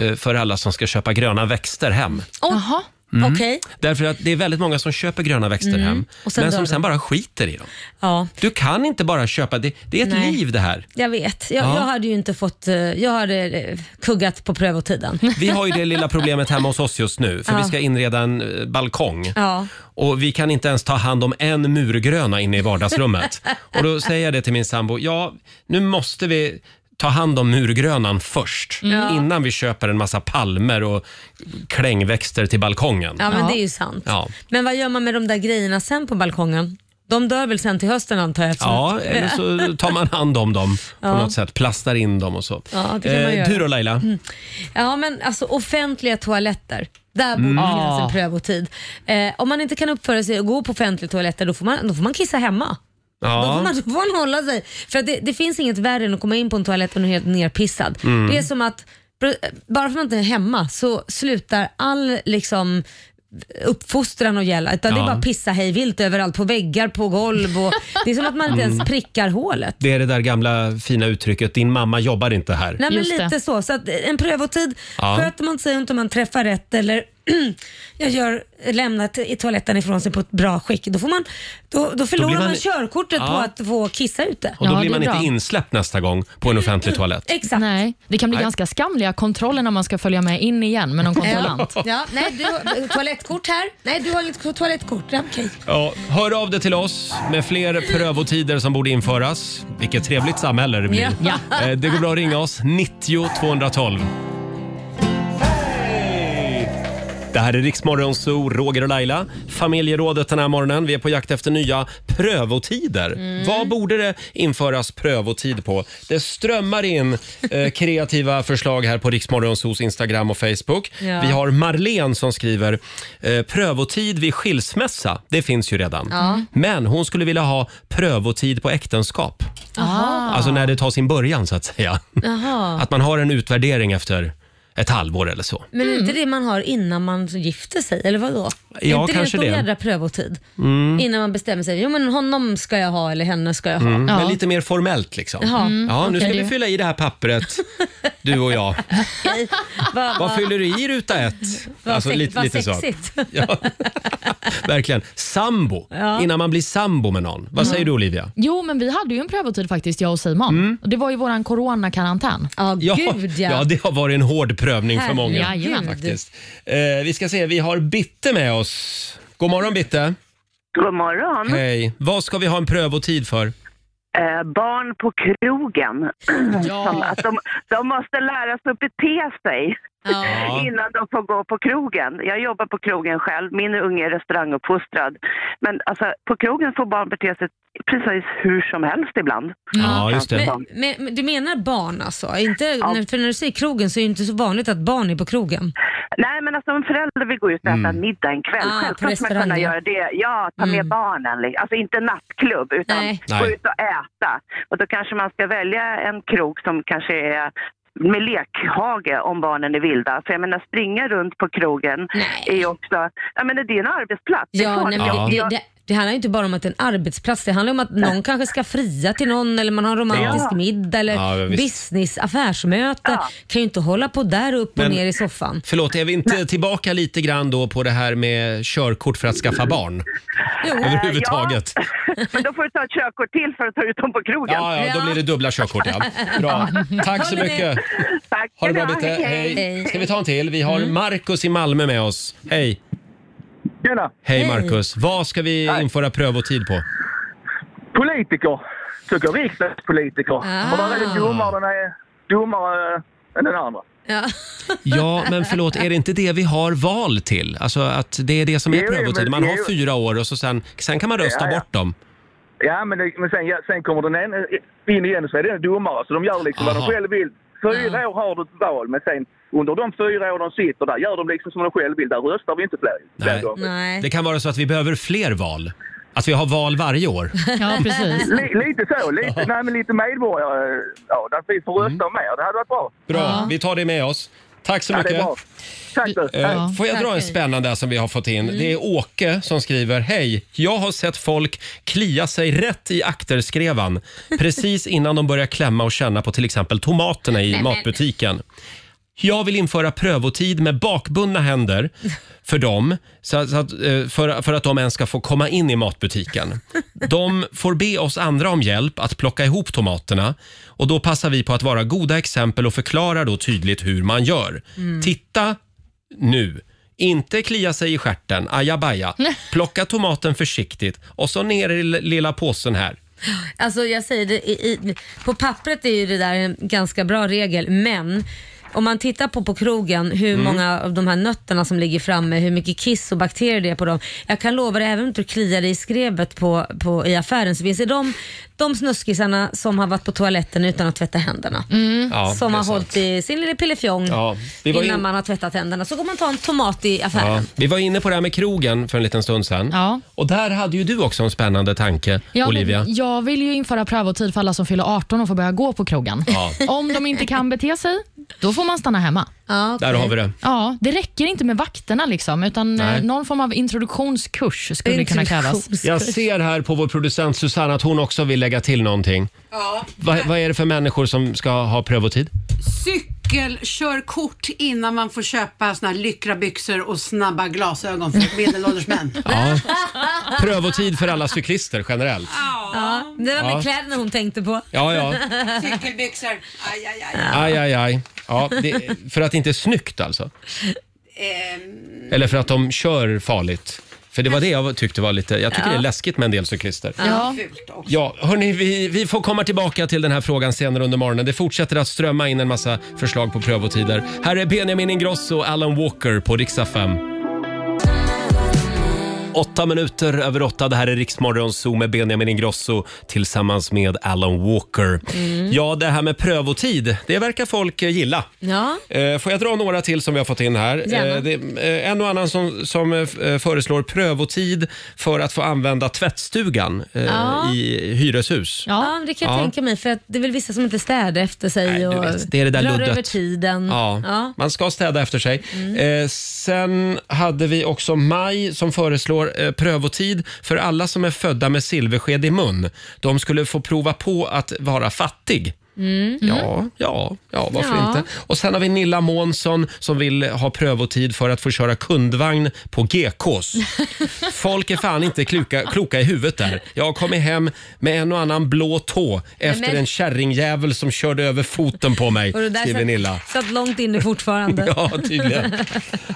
eh, för alla som ska köpa gröna växter hem.
Jaha.
Mm.
Okej.
Därför att det är väldigt många som köper gröna växter
Mm.
hem,
Och sen
men
dör
som
de.
sen bara skiter i dem.
Ja,
Du kan inte bara köpa, det, det är ett
Nej.
liv det här.
jag vet. Jag,
Ja.
jag hade ju inte fått... eh, Jag hade eh, kuggat på prövotiden.
Vi har ju det lilla problemet hemma hos oss just nu, för
Ja.
vi ska inreda en eh, balkong.
Ja.
Och vi kan inte ens ta hand om en murgröna inne i vardagsrummet. Och då säger jag det till min sambo, ja, nu måste vi ta hand om murgrönan först.
Mm. Ja.
Innan vi köper en massa palmer och klängväxter till balkongen.
Ja, men det är ju sant.
Ja.
Men vad gör man med de där grejerna sen på balkongen? De dör väl sen till hösten antar jag? eftersom-
Ja, eller så tar man hand om dem på
Ja.
något sätt, plastar in dem och så. Eh,
Ja, det kan man göra. Mm.
du då Laila?
Ja, men alltså offentliga toaletter. Där borde
Mm.
det finnas
Ja.
en prövotid. Eh, om man inte kan uppföra sig och gå på offentliga toaletter, då får man, då får man kissa hemma. Då, får
Ja.
man, då får man hålla sig. För att det, det finns inget värre än att komma in på en toalett och är helt nerpissad.
Mm.
Det är som att, bara för att man inte är hemma så slutar all liksom uppfostran och gälla. Utan Det är
Ja.
bara pissa hej vilt överallt, på väggar, på golv. Och, det är som att man inte ens
Mm.
prickar hålet.
Det är det där gamla fina uttrycket, din mamma jobbar inte här.
Nej men lite så. Så att en prövotid,
Ja.
sköter man sig inte om man träffar rätt eller jag gör, lämnar t- i toaletten ifrån sig på ett bra skick, då, får man, då, då förlorar
blir
man,
man-
körkortet
Ja.
på att få kissa ute.
Och då blir man inte insläppt nästa gång på en offentlig toalett.
Exakt.
Nej, det kan bli
Nej.
ganska skamliga kontroller när man ska följa med in igen med någon kontrollant.
Ja, ja, nej, du har toalettkort här. Nej, du har inget toalettkort. Ja, Okej.
Ja, hör av dig till oss med fler prövotider som borde införas. Vilket trevligt samhälle det blir.
Ja.
Eh, Det går bra att ringa oss, 90 212. Det här är Riksmorgon Zoo, Roger och Laila. Familjerådet den här morgonen. Vi är på jakt efter nya prövotider.
Mm.
Vad borde det införas prövotid på? Det strömmar in eh, kreativa förslag här på Riksmorgon Zoos Instagram och Facebook.
Ja.
Vi har Marlene som skriver eh, prövotid vid skilsmässa. Det finns ju redan.
Ja.
Men hon skulle vilja ha prövotid på äktenskap.
Jaha.
Alltså när det tar sin början så att säga.
Jaha.
Att man har en utvärdering efter ett halvår eller så.
Men är inte det man har innan man gifter sig, eller vadå?
Mm. Ja,
är inte
kanske
det en
det.
stor jädra prövotid?
Mm.
Innan man bestämmer sig, jo men honom ska jag ha eller henne ska jag ha.
Mm. Men lite mer formellt liksom.
Jaha. Mm,
Ja, nu
okej.
ska vi fylla i det här pappret, du och jag.
Okej. Va-
Vad
va-
fyller du i ruta ett? Alltså,
Vad sex- vad
så.
sexigt.
Ja. Verkligen. Sambo,
Ja.
innan man blir sambo med någon. Vad säger du Olivia?
Jo, men vi hade ju en prövotid faktiskt, jag och Simon. Och Det var ju våran coronakarantän.
ja, det har varit en hård prövning för
Herregud.
många.
Jajamän.
Faktiskt. Eh, vi ska se, vi har Bitte med oss. God morgon Bitte.
God morgon.
Hej. Vad ska vi ha en prövotid för?
Eh, barn på krogen. Som att de, de måste lära sig att bete sig
Ja.
innan de får gå på krogen. Jag jobbar på krogen själv. Min unge är restauranguppfostrad. Men alltså, på krogen får barn bete sig precis hur som helst ibland.
Men, men, men du menar barn alltså? Inte, när, för när du säger krogen så är det inte så vanligt att barn är på krogen.
Nej, men alltså om föräldrar vill gå ut och äta
Mm.
middag en kväll,
Ah, på Mm.
självklart ska man kunna
restaurang, ja.
göra det. Ja, ta med barnen. liksom. Alltså inte nattklubb, utan gå
Nej.
ut och äta. Och då kanske man ska välja en krog som kanske är med lekhage om barnen är vilda. För jag menar, springa runt på krogen är ju också... Jag menar, det är en arbetsplats. det är
Ja,
klart.
nej, men
Jag-
det,
jag-
det, det handlar ju inte bara om att det är en arbetsplats. Det handlar om att någon kanske ska fria till någon eller man har en romantisk
Ja.
middag eller
Ja, visst.
business, affärsmöte. Kan ju inte hålla på där upp och
Men-
ner i soffan.
Förlåt, är vi inte tillbaka lite grann då på det här med körkort för att skaffa barn? Överhuvudtaget. Ja,
Men då får du ta ett körkort till för att ta ut dem på krogen.
ja, då blir det dubbla körkort. Ja. Bra. Tack så mycket.
Tack.
Ha det bra Bitte. Hej. Mm. Ska vi ta en till? Vi har Markus i Malmö med oss. Hej.
Tjena.
Hej
Hej.
Markus. Vad ska vi införa prövotid på?
Politiker, tycker riksdagspolitiker.
Ah.
Och där är det dummare, den är dummare eh, än den andra.
Ja.
Ja, men förlåt, är det inte det vi har val till? Alltså att det är det som är
Jo, jo,
prövotid.
men-
Man har
jo.
fyra år och så sen, sen kan man rösta
Ja, ja.
bort dem.
Ja, men, det, men sen, ja, sen kommer den ene in igen och så är den dummare. Så de gör liksom vad
Aha.
de själv vill. Fyra år har du ett val, men sen under de fyra år de sitter där gör de liksom som de själv vill. Där röstar vi inte fler.
Nej. Det kan vara så att vi behöver fler val. Att vi har val varje år.
Ja, precis.
Li, lite så. Lite, nej, men lite medborgare. Ja, där vi får rösta
Mm.
mer. Det hade varit bra.
Bra, vi tar det med oss. Tack så
Ja, det är
mycket.
bra. Tack du.
Eh,
Hej.
Får jag dra en
Tack.
spännande här som vi har fått in?
Mm.
Det är Åke som skriver. Hej! Jag har sett folk klia sig rätt i akterskrevan precis innan de börjar klämma och känna på till exempel tomaterna i
Nej, men-
matbutiken. Jag vill införa prövotid med bakbundna händer för dem så så att, eh, för, för att de ens ska få komma in i matbutiken. De får be oss andra om hjälp att plocka ihop tomaterna och då passar vi på att vara goda exempel och förklarar då tydligt hur man gör.
Mm.
Titta nu. Inte klia sig i stjärten, ajabaja. Plocka tomaten försiktigt och så ner i l- lilla påsen här.
Alltså jag säger det, i, i, på pappret är ju det där en ganska bra regel, men om man tittar på på krogen hur
Mm.
många av de här nötterna som ligger framme, hur mycket kiss och bakterier det är på dem. Jag kan lova dig, även om du kliar dig i skrevet på, på, i affären så finns det de, de snuskisarna som har varit på toaletten utan att tvätta händerna.
Mm. Ja,
Mm. som
det är
har
sant.
hållit i sin lilla pillefjong
Ja, vi var in-
innan man har tvättat händerna. Så går man ta en tomat i
Ja,
affären.
vi var inne på det här med krogen för en liten stund sedan. Och där hade ju du också en spännande tanke,
Ja,
Olivia.
men jag vill ju införa prövotid för alla som fyller 18 och får börja gå på krogen.
Ja.
Om de inte kan bete sig, då får man stanna hemma.
Där har vi det.
Ja, det räcker inte med vakterna, liksom, utan
Nej.
eh, någon form av introduktionskurs skulle kunna krävas.
Jag ser här på vår producent Susanne att hon också vill lägga till någonting.
Ja.
Va, vad är det för människor som ska ha prövotid?
Cykelkörkort innan man får köpa såna här lyckrabyxor och snabba glasögon för medelålders män.
Ja. Prövotid för alla cyklister generellt.
Ja, det var med
Ja.
kläderna hon tänkte på.
Ja, ja.
Cykelbyxor. Aj, aj, aj.
Aj, aj, aj. Ja, det, för att det inte är snyggt alltså?
Ehm,
Eller för att de kör farligt? För det var det jag tyckte var lite... Jag tycker
Ja.
det är läskigt med en del cyklister.
Ja. Fult också.
Ja, hörni, vi, vi får komma tillbaka till den här frågan senare under morgonen. Det fortsätter att strömma in en massa förslag på prövotider. Här är Benjamin Ingrosso och Alan Walker på riksdag 5. Åtta minuter över åtta. Det här är Riksmorgon Zoo med Benjamin Ingrosso tillsammans med Alan Walker. Ja, det här med prövotid, det verkar folk eh, gilla.
Ja.
Eh, Får jag dra några till som vi har fått in här?
Gärna.
Eh, Det är eh, en och annan som, som eh, f- eh, föreslår prövotid för att få använda tvättstugan eh,
Ja.
i hyreshus.
Ja, det kan jag
Ja.
tänka mig. För att det är väl vissa som inte städar efter sig och
vet, det är det där
drar
luddet.
över tiden.
Ja,
Mm. Ja. Mm.
man ska städa efter sig. Eh, sen hade vi också Maj som föreslår eh, prövotid för alla som är födda med silversked i mun. De skulle få prova på att vara fattig.
Mm.
Ja, ja, ja, varför
Ja.
inte? Och sen har vi Nilla Månsson som vill ha prövotid för att få köra kundvagn på GKs. Folk är fan inte kloka, kloka i huvudet där. Jag har kommit hem med en och annan blå tå efter
men-
en kärringjävel som körde över foten på mig,
Och det där
skriver
satt,
Nilla.
satt långt inne fortfarande.
Ja, tydligen.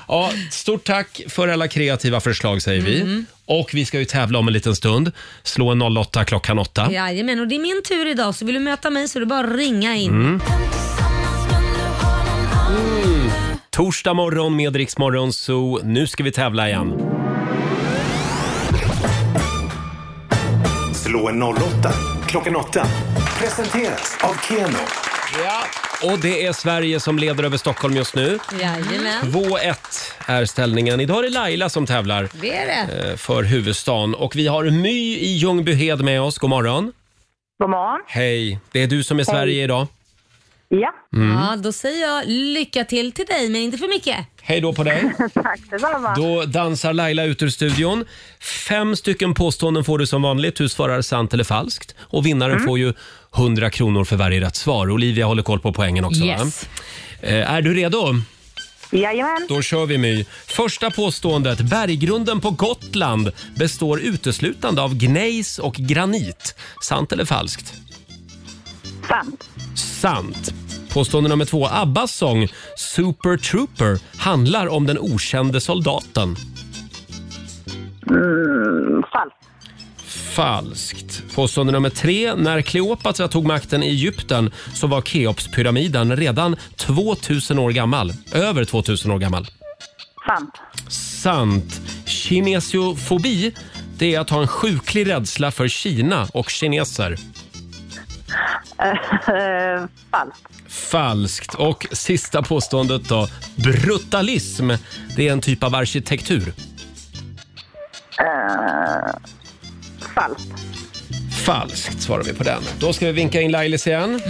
Ja, stort tack för alla kreativa förslag säger vi.
Mm.
Och vi ska ju tävla om en liten stund. Slå en 08 klockan 8.
Jajamän, och det är min tur idag så vill du möta mig så är det bara att ringa in.
Mm. Mm. Torsdag morgon med Rix Morgon Zoo. Nu ska vi tävla igen.
Slå en 08 klockan 8. Presenteras av Keno.
Ja. Och det är Sverige som leder över Stockholm just nu.
Jajamän.
2-1 är ställningen. Idag är det Laila som tävlar
Det är det.
eh, för huvudstaden. Och vi har My i Ljungbyhed med oss. God morgon.
God morgon.
Hej, det är du som är
Hej.
Sverige idag.
Ja.
Mm.
Ja, då säger jag lycka till till dig, men inte för mycket.
Hej då på dig.
Tack detsamma.
Då dansar Laila ut ur studion. Fem stycken påståenden får du som vanligt. Du svarar sant eller falskt. Och vinnaren
Mm.
får ju 100 kronor för varje rätt svar. Olivia håller koll på poängen också.
Yes.
Va? Eh, Är du redo?
Jajamän.
Då kör vi My. Första påståendet. Berggrunden på Gotland består uteslutande av gnejs och granit. Sant eller falskt?
Sant.
Sant. Påstående nummer två. Abbas sång Super Trooper handlar om den okände soldaten.
Mm, falskt.
Falskt. Påstående nummer tre. När Kleopatra tog makten i Egypten så var Keopspyramiden redan 2000 år gammal. Över 2000 år gammal.
Sant.
Sant. Kinesiofobi, det är att ha en sjuklig rädsla för Kina och kineser.
Eh, falskt.
Falskt. Och sista påståendet då. Brutalism, det är en typ av arkitektur.
Eh, falskt.
Falskt svarar vi på den. Då ska vi vinka in Lailis igen.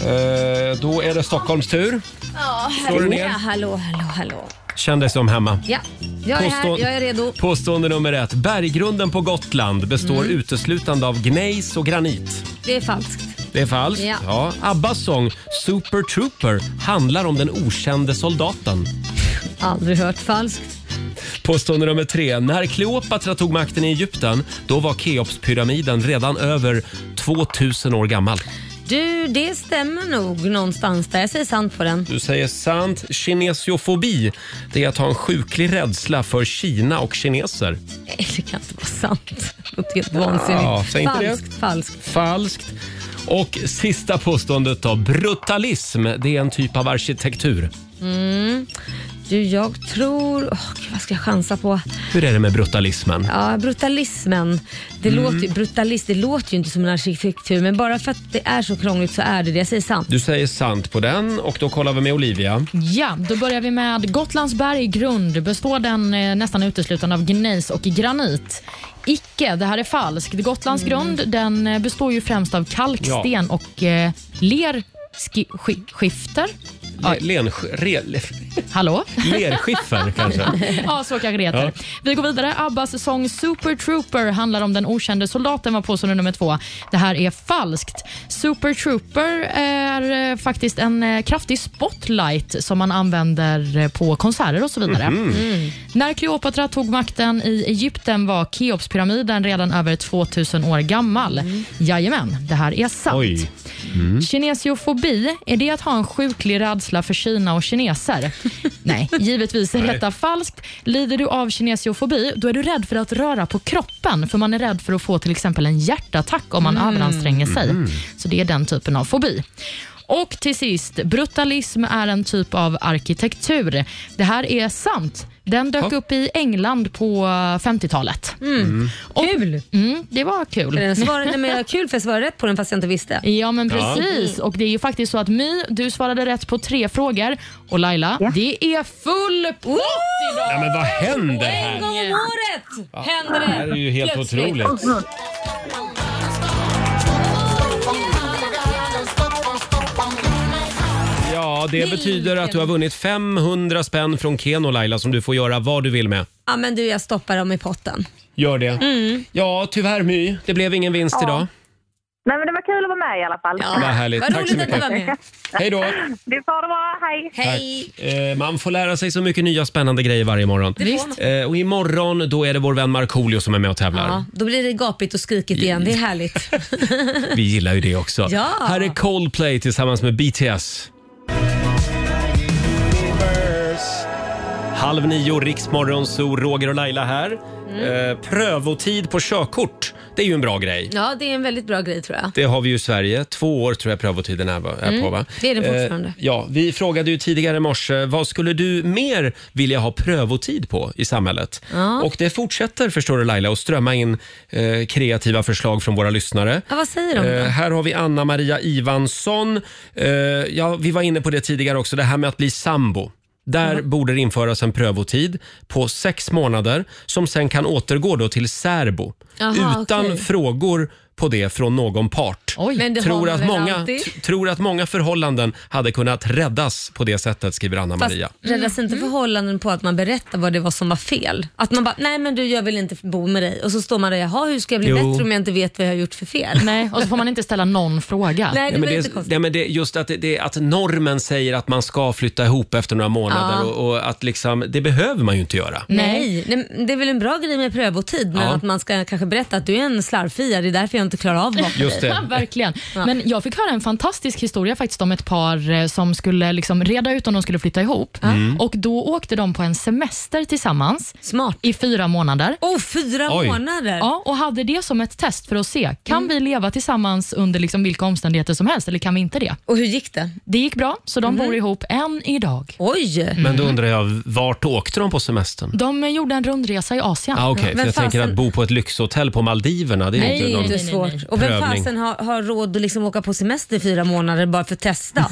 Eh, då är det Stockholms tur.
Ja,
Slår du
hallå,
ner?
hallå, hallå.
Känn dig som hemma.
Ja, jag är här, jag är redo.
Påstående nummer ett. Berggrunden på Gotland består
Mm.
uteslutande av gnejs och granit.
Det är falskt.
Det är falskt.
Ja.
Ja. Abbas sång Super Trooper handlar om den okände soldaten.
Aldrig hört falskt.
Påstående nummer tre. När Kleopatra tog makten i Egypten, då var Keopspyramiden redan över 2000 år gammal.
Du, det stämmer nog någonstans där. Jag säger sant på den.
Du säger sant. Kinesiofobi, det är att ha en sjuklig rädsla för Kina och kineser.
Nej, Det kan inte vara sant. Det låter helt vansinnigt.
Ja, säg inte det.
falskt, falskt.
Falskt. Och sista påståendet då. Brutalism, det är en typ av arkitektur.
Mm. Du, jag tror... Åh, gud, vad ska jag chansa på?
Hur är det med brutalismen?
Ja, brutalismen. Det,
Mm.
låter, ju- brutalist, det låter ju inte som en arkitektur, men bara för att det är så krångligt så är det det. Jag säger sant.
Du säger sant på den och då kollar vi med Olivia.
Ja, då börjar vi med Gotlands berggrund. Består den eh, nästan uteslutande av gnejs och granit? Icke, det här är falskt. Gotlands grund den eh, består ju främst av kalksten
Ja.
och eh, lerskifter.
Le, lensk, re, le,
Hallå?
lerskiffer kanske?
ja, så kanske det heter.
Ja.
Vi går vidare. Abbas sång Super Trooper handlar om den okände soldaten, var påstående nummer två. Det här är falskt. Super Trooper är eh, faktiskt en eh, kraftig spotlight som man använder eh, på konserter och så vidare. Mm.
Mhm.
När Kleopatra tog makten i Egypten var Keopspyramiden redan över 2000 år gammal. Jajamän, det här är sant.
Mm. Oj. Mm.
Kinesiofobi, är det att ha en sjuklig rädsla för Kina och kineser? Nej, givetvis är
Nej.
detta falskt. Lider du av kinesiofobi, då är du rädd för att röra på kroppen, för man är rädd för att få till exempel en hjärtattack om man
Mm.
överanstränger sig.
Mhm.
Så det är den typen av fobi. Och till sist, brutalism är en typ av arkitektur. Det här är sant. Den dök upp i England på 50-talet.
Mm.
Kul! Mm, det var kul.
Den svarade, men jag har kul för jag svarade rätt på den fast jag inte visste.
Ja, men precis. Och det är ju faktiskt så att My, du svarade rätt på tre frågor. Och Laila, det är full pott idag!
Ja, men vad händer här?
En gång om året
Ja,
händer det.
det här är ju helt otroligt. Ja, det betyder att du har vunnit 500 spänn från Keno Laila som du får göra vad du vill med.
Ja, men du, jag stoppar dem i potten.
Gör det.
Mm.
Ja, tyvärr My. Det blev ingen vinst
Ja.
idag.
Nej, men det var kul att vara med i alla fall. Ja.
Vad härligt. Vad Tack så roligt att du mycket. var med. Hej då.
Du får det bra. Hej.
Tack. Eh, man får lära sig så mycket nya spännande grejer varje morgon.
Det får man.
Eh, och imorgon då är det vår vän Markoolio som är med och tävlar.
Ja, då blir det gapigt och skrikigt igen. Det är härligt.
Vi gillar ju det också.
Ja.
Här är Coldplay tillsammans med BTS. Halv nio, Riksmorgon, så Roger och Laila här.
Mm.
Eh, prövotid på körkort, det är ju en bra grej.
Ja, det är en väldigt bra grej tror jag.
Det har vi ju i Sverige. Två år tror jag prövotiden är, är
Mm,
på. Va?
det är den fortfarande.
Eh, ja, vi frågade ju tidigare i morse, vad skulle du mer vilja ha prövotid på i samhället?
Ja.
Och det fortsätter, förstår du Laila, att strömma in eh, kreativa förslag från våra lyssnare.
Ja, vad säger de då?
Eh, här har vi Anna-Maria Ivansson. Eh, ja, vi var inne på det tidigare också, det här med att bli sambo. Där
Mm.
borde det införas en prövotid på sex månader som sen kan återgå då till särbo.
Jaha,
utan
okej.
frågor på det från någon part.
Men det har
tror,
man
att
väl
många,
alltid?
t- tror att många förhållanden hade kunnat räddas på det sättet, skriver Anna-Maria.
Fast räddas inte förhållanden på att man berättar vad det var som var fel? Att man bara, nej men du jag vill inte bo med dig. Och så står man där, jaha hur ska jag bli
Jo.
bättre om jag inte vet vad jag har gjort för fel?
Nej, och så får man inte ställa någon fråga.
Nej, det
men
var
det,
inte konstigt.
nej, men det, just att, det- det, att normen säger att man ska flytta ihop efter några månader
Ja.
och, och att liksom, det behöver man ju inte göra.
Nej, nej, men det är väl en bra grej med prövotid, men
Ja.
att man ska kanske berätta att du är en slarvfia, det är därför jag inte klarar av bakom
Just det.
dig.
Ja, verkligen.
Ja.
Men jag fick höra en fantastisk historia faktiskt om ett par eh, som skulle liksom reda ut om de skulle flytta ihop.
Mm.
Och Då åkte de på en semester tillsammans
Smart.
i fyra månader.
Oh, fyra Oj. månader?
Ja, och hade det som ett test för att se, kan
Mm.
vi leva tillsammans under liksom vilka omständigheter som helst eller kan vi inte det?
Och hur gick det?
Det gick bra, så de
Mm.
bor ihop än idag.
Oj!
Men då undrar jag, vart åkte de på semestern?
De eh, gjorde en rundresa i Asien.
Ah, okay, för jag tänker att bo på ett lyxhotell på Maldiverna, det är
Nej,
inte någon
det är svårt. Och vem
prövning.
fasen har, har råd att liksom åka på semester i fyra månader bara för att testa?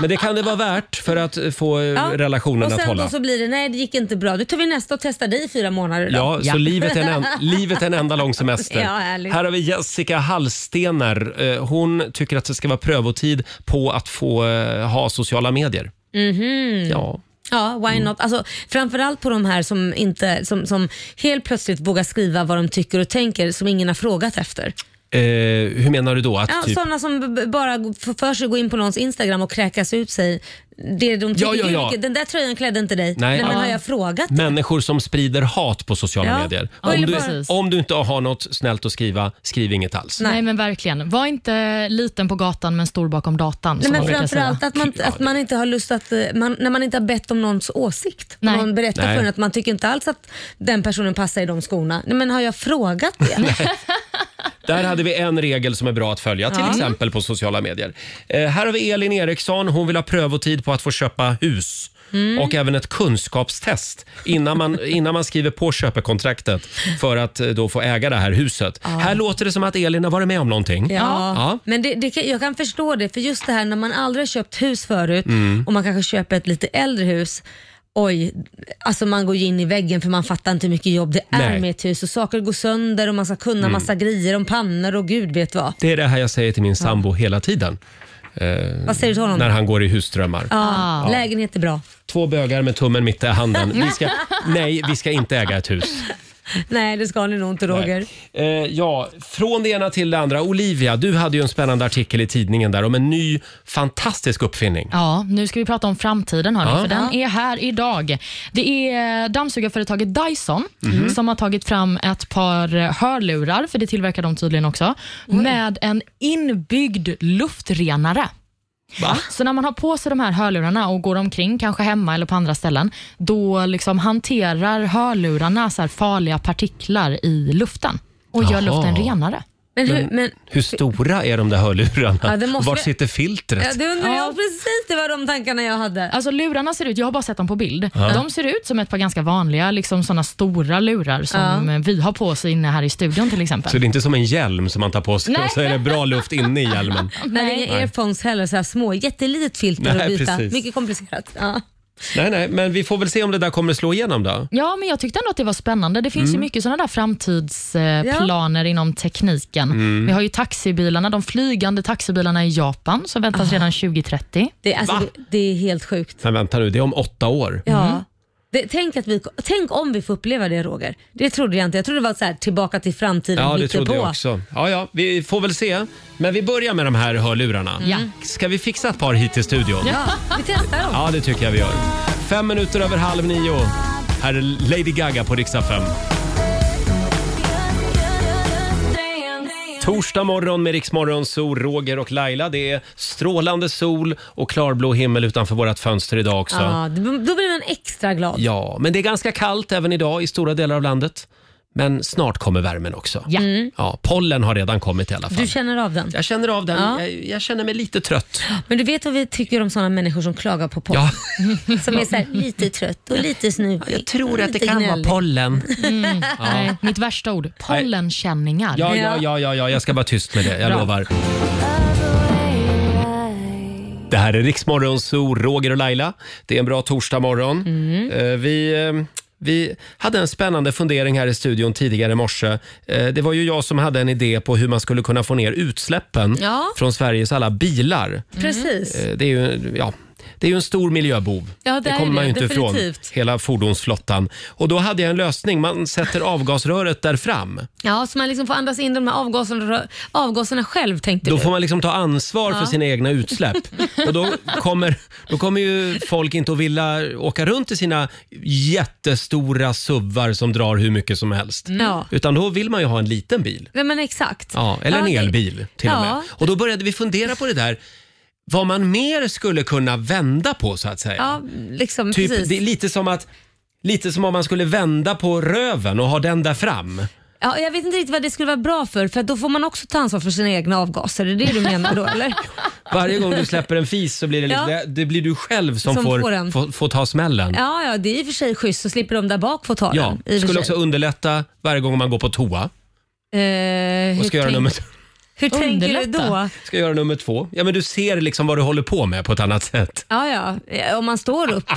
Men det kan det vara värt för att få eh,
Ja.
relationen
och sen
att hålla.
Då så blir det, nej det gick inte bra. Nu tar vi nästa och testar dig i fyra månader då.
Ja, så livet är, en, en- livet är en enda lång semester.
Ja, härligt.
Här har vi Jessica Hallstener. Eh, Hon tycker att det ska vara prövotid på att få eh, ha sociala medier.
Mhm.
Ja.
Ja,
Mm.
why not? Alltså, framförallt på de här som, inte, som, som helt plötsligt vågar skriva vad de tycker och tänker som ingen har frågat efter.
Eh, hur menar du då? Att
Ja,
typ...
Sådana som b- b- bara g- får för sig att gå in på någons Instagram och kräkas ut sig. Det de tycker,
Ja, ja, ja.
"Gud, vilket- Den där tröjan klädde inte dig.
Nej.
Nej, men
Ja.
har jag frågat?
Människor som sprider hat på sociala
Ja.
medier.
Ja,
Om
eller
du,
bara-
om du inte har något snällt att skriva, skriv inget alls.
Nej. men verkligen. Var inte liten på gatan men stor bakom datan.
Nej,
som man
men
brukar
framförallt
säga.
att man, att man inte har lust att, eh, man, när man inte har bett om någons åsikt. När någon berättar
Nej.
för en att man tycker inte alls att den personen passar i de skorna. Nej, men har jag frågat det?
Där hade vi en regel som är bra att följa, till
Ja.
exempel på sociala medier. Eh, här har vi Elin Eriksson. Hon vill ha prövotid på att få köpa hus.
Mm.
Och även ett kunskapstest innan man, innan man skriver på köpekontraktet för att eh, då få äga det här huset. Här låter det som att Elin har varit med om någonting.
Ja,
Ja.
men det, det, kan- jag kan förstå det. För just det här när man aldrig har köpt hus förut
Mm.
och man kanske köper ett lite äldre hus. Oj, alltså man går ju in i väggen för man fattar inte hur mycket jobb det är
Nej.
med ett hus och saker går sönder och man ska kunna
Mm.
massa grejer om pannor och gud vet vad.
Det är det här jag säger till min sambo hela tiden. Eh,
Vad säger du till honom?
När han går i husdrömmar.
Ja,
Ja.
Lägenhet är bra.
Två bögar med tummen mitt i handen. Vi ska, nej, vi ska inte äga ett hus.
Nej, det ska ni nog inte Roger.
Eh, ja, från det ena till det andra. Olivia, du hade ju en spännande artikel i tidningen där om en ny fantastisk uppfinning.
Ja, nu ska vi prata om framtiden, hörni,
Ja.
för den är här idag. Det är dammsugarföretaget Dyson
Mhm.
som har tagit fram ett par eh, hörlurar, för det tillverkar de tydligen också, med en inbyggd luftrenare. Så när man har på sig de här hörlurarna och går omkring, kanske hemma eller på andra ställen, då liksom hanterar hörlurarna så här farliga partiklar i luften och gör
Jaha.
luften renare.
Men hur, men,
Hur stora är de där hörlurarna?
Ja, det måste
Var
vi-
sitter filtret?
ja, det undrar jag precis, det var de tankarna jag hade.
Alltså lurarna ser ut, jag har bara sett dem på bild.
Ja.
De ser ut som ett par ganska vanliga, liksom såna stora lurar som eh, vi har på oss inne här i studion till exempel.
Så det är inte som en hjälm som man tar på sig
Nej.
och så är det bra luft inne i hjälmen.
Nej, det är inga
Nej.
airphones heller, så här små, jättelitet filter
Nej,
att byta.
precis.
Mycket komplicerat. Ja.
Nej, nej, men vi får väl se om det där kommer slå igenom då.
Ja, men jag tyckte ändå att det var spännande. Det finns
Mm.
ju mycket sådana där framtidsplaner inom tekniken.
Mm.
Vi har ju taxibilarna, de flygande taxibilarna i Japan som väntas redan 2030.
Det, är- alltså, det, det är helt sjukt.
Men vänta nu, det är om åtta år.
Ja. Mm. Det, tänk, att vi, tänk om vi får uppleva det Roger. Det trodde jag inte. Jag trodde det var så här, tillbaka till framtiden
Ja, det
mitt
trodde
på.
jag också. Ja, ja, vi får väl se. Men vi börjar med de här hörlurarna.
Ja.
Ska vi fixa ett par hit till studion?
Mm. Ja, vi testar dem.
Ja, det tycker jag vi gör. Fem minuter över halv nio. Här är Lady Gaga på riksdag 5. Torsdag morgon med Riksmorgon, så Roger och Laila. Det är strålande sol och klarblå himmel utanför vårt fönster idag också.
Ja, då då blir man extra glad.
Ja, men det är ganska kallt även idag i stora delar av landet. Men snart kommer värmen också.
Ja. Mm.
Ja, pollen har redan kommit i alla fall.
Du känner av den?
Jag känner av den.
Ja.
Jag, jag känner mig lite trött.
Men du vet vad vi tycker om sådana människor som klagar på pollen? Som är så här, lite trött och lite snuvig.
Jag tror
och
att det
lite
kan vara
gnällig.
pollen.
Mm.
Ja.
Nej, mitt värsta ord, pollenkänningar.
Ja, ja, ja, ja, ja, jag ska vara tyst med det. Jag
Bra.
lovar. Det
Mm.
här är Riksmorgon Zoo, Roger och Laila. Det är en bra torsdagmorgon. Eh, Vi eh, Vi hade en spännande fundering här i studion tidigare i morse. Eh, Det var ju jag som hade en idé på hur man skulle kunna få ner utsläppen
Ja. Mm.
från Sveriges alla bilar.
Precis.
Eh, Det är ju, ja, det är ju en stor miljöbov.
Ja, det är
kommer man
det,
ju inte
definitivt.
ifrån. Hela fordonsflottan. Och då hade jag en lösning. Man sätter avgasröret där fram.
Ja, så man liksom får andas in de här avgaserna, avgaserna själv tänkte
Då
du.
får man liksom ta ansvar för
Ja.
sina egna utsläpp. Och då kommer, då kommer ju folk inte att vilja åka runt i sina jättestora suvar som drar hur mycket som helst.
Ja.
Utan då vill man ju ha en liten bil.
Nej, men exakt.
Ja, eller en
Ja, det-
elbil till och
Ja.
med. Och då började vi fundera på det där. Vad man mer skulle kunna vända på så att säga.
Ja, liksom
typ,
precis.
det är lite som att Lite som om man skulle vända på röven och ha den där fram.
Ja, jag vet inte riktigt vad det skulle vara bra för, för då får man också ta ansvar för sina egna avgaser. Är det det du menar då eller?
Varje gång du släpper en fis så blir det, lite,
Ja.
det blir du själv som,
Som
får,
får den.
får, får ta smällen.
Ja, ja, det är i och för sig schysst så slipper de där bak få ta
Ja,
den. I och för
skulle
sig.
också underlätta varje gång man går på toa.
Eh,
Och
hur
ska göra
tänk-
nummer,
Hur tänker du då?
ska göra nummer två. Ja, men du ser liksom vad du håller på med på ett annat sätt.
Ja, ja, eh, om man står upp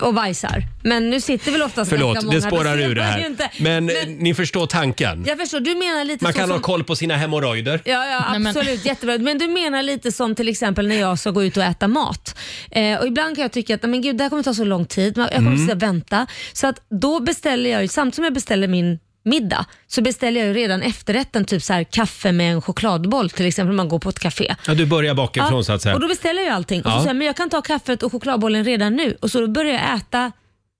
och bajsar. Men nu sitter väl oftast ganska
Förlåt,
många...
det spårar
då ser
ur det
man ju
här.
inte.
Men, eh, ni förstår tanken.
Jag förstår, du menar lite
Man
så
kan
som...
ha koll på sina hemorrojder.
Ja, ja
Nej, men-
absolut. Jättebra. Men du menar lite som till exempel när jag ska gå ut och äta mat. Eh, och ibland kan jag tycka att nej, men gud, det här kommer ta så lång tid. Jag kommer
Mm.
sitta och vänta. Så att då beställer jag ju, samtidigt som jag beställer min middag, så beställer jag ju redan efterrätten, typ så här, kaffe med en chokladboll till exempel, när man går på ett café.
Ja, du börjar bakifrån så att säga.
Och då beställer jag allting. Och
Ja.
så säger jag, men jag kan ta kaffet och chokladbollen redan nu. Och så då börjar jag äta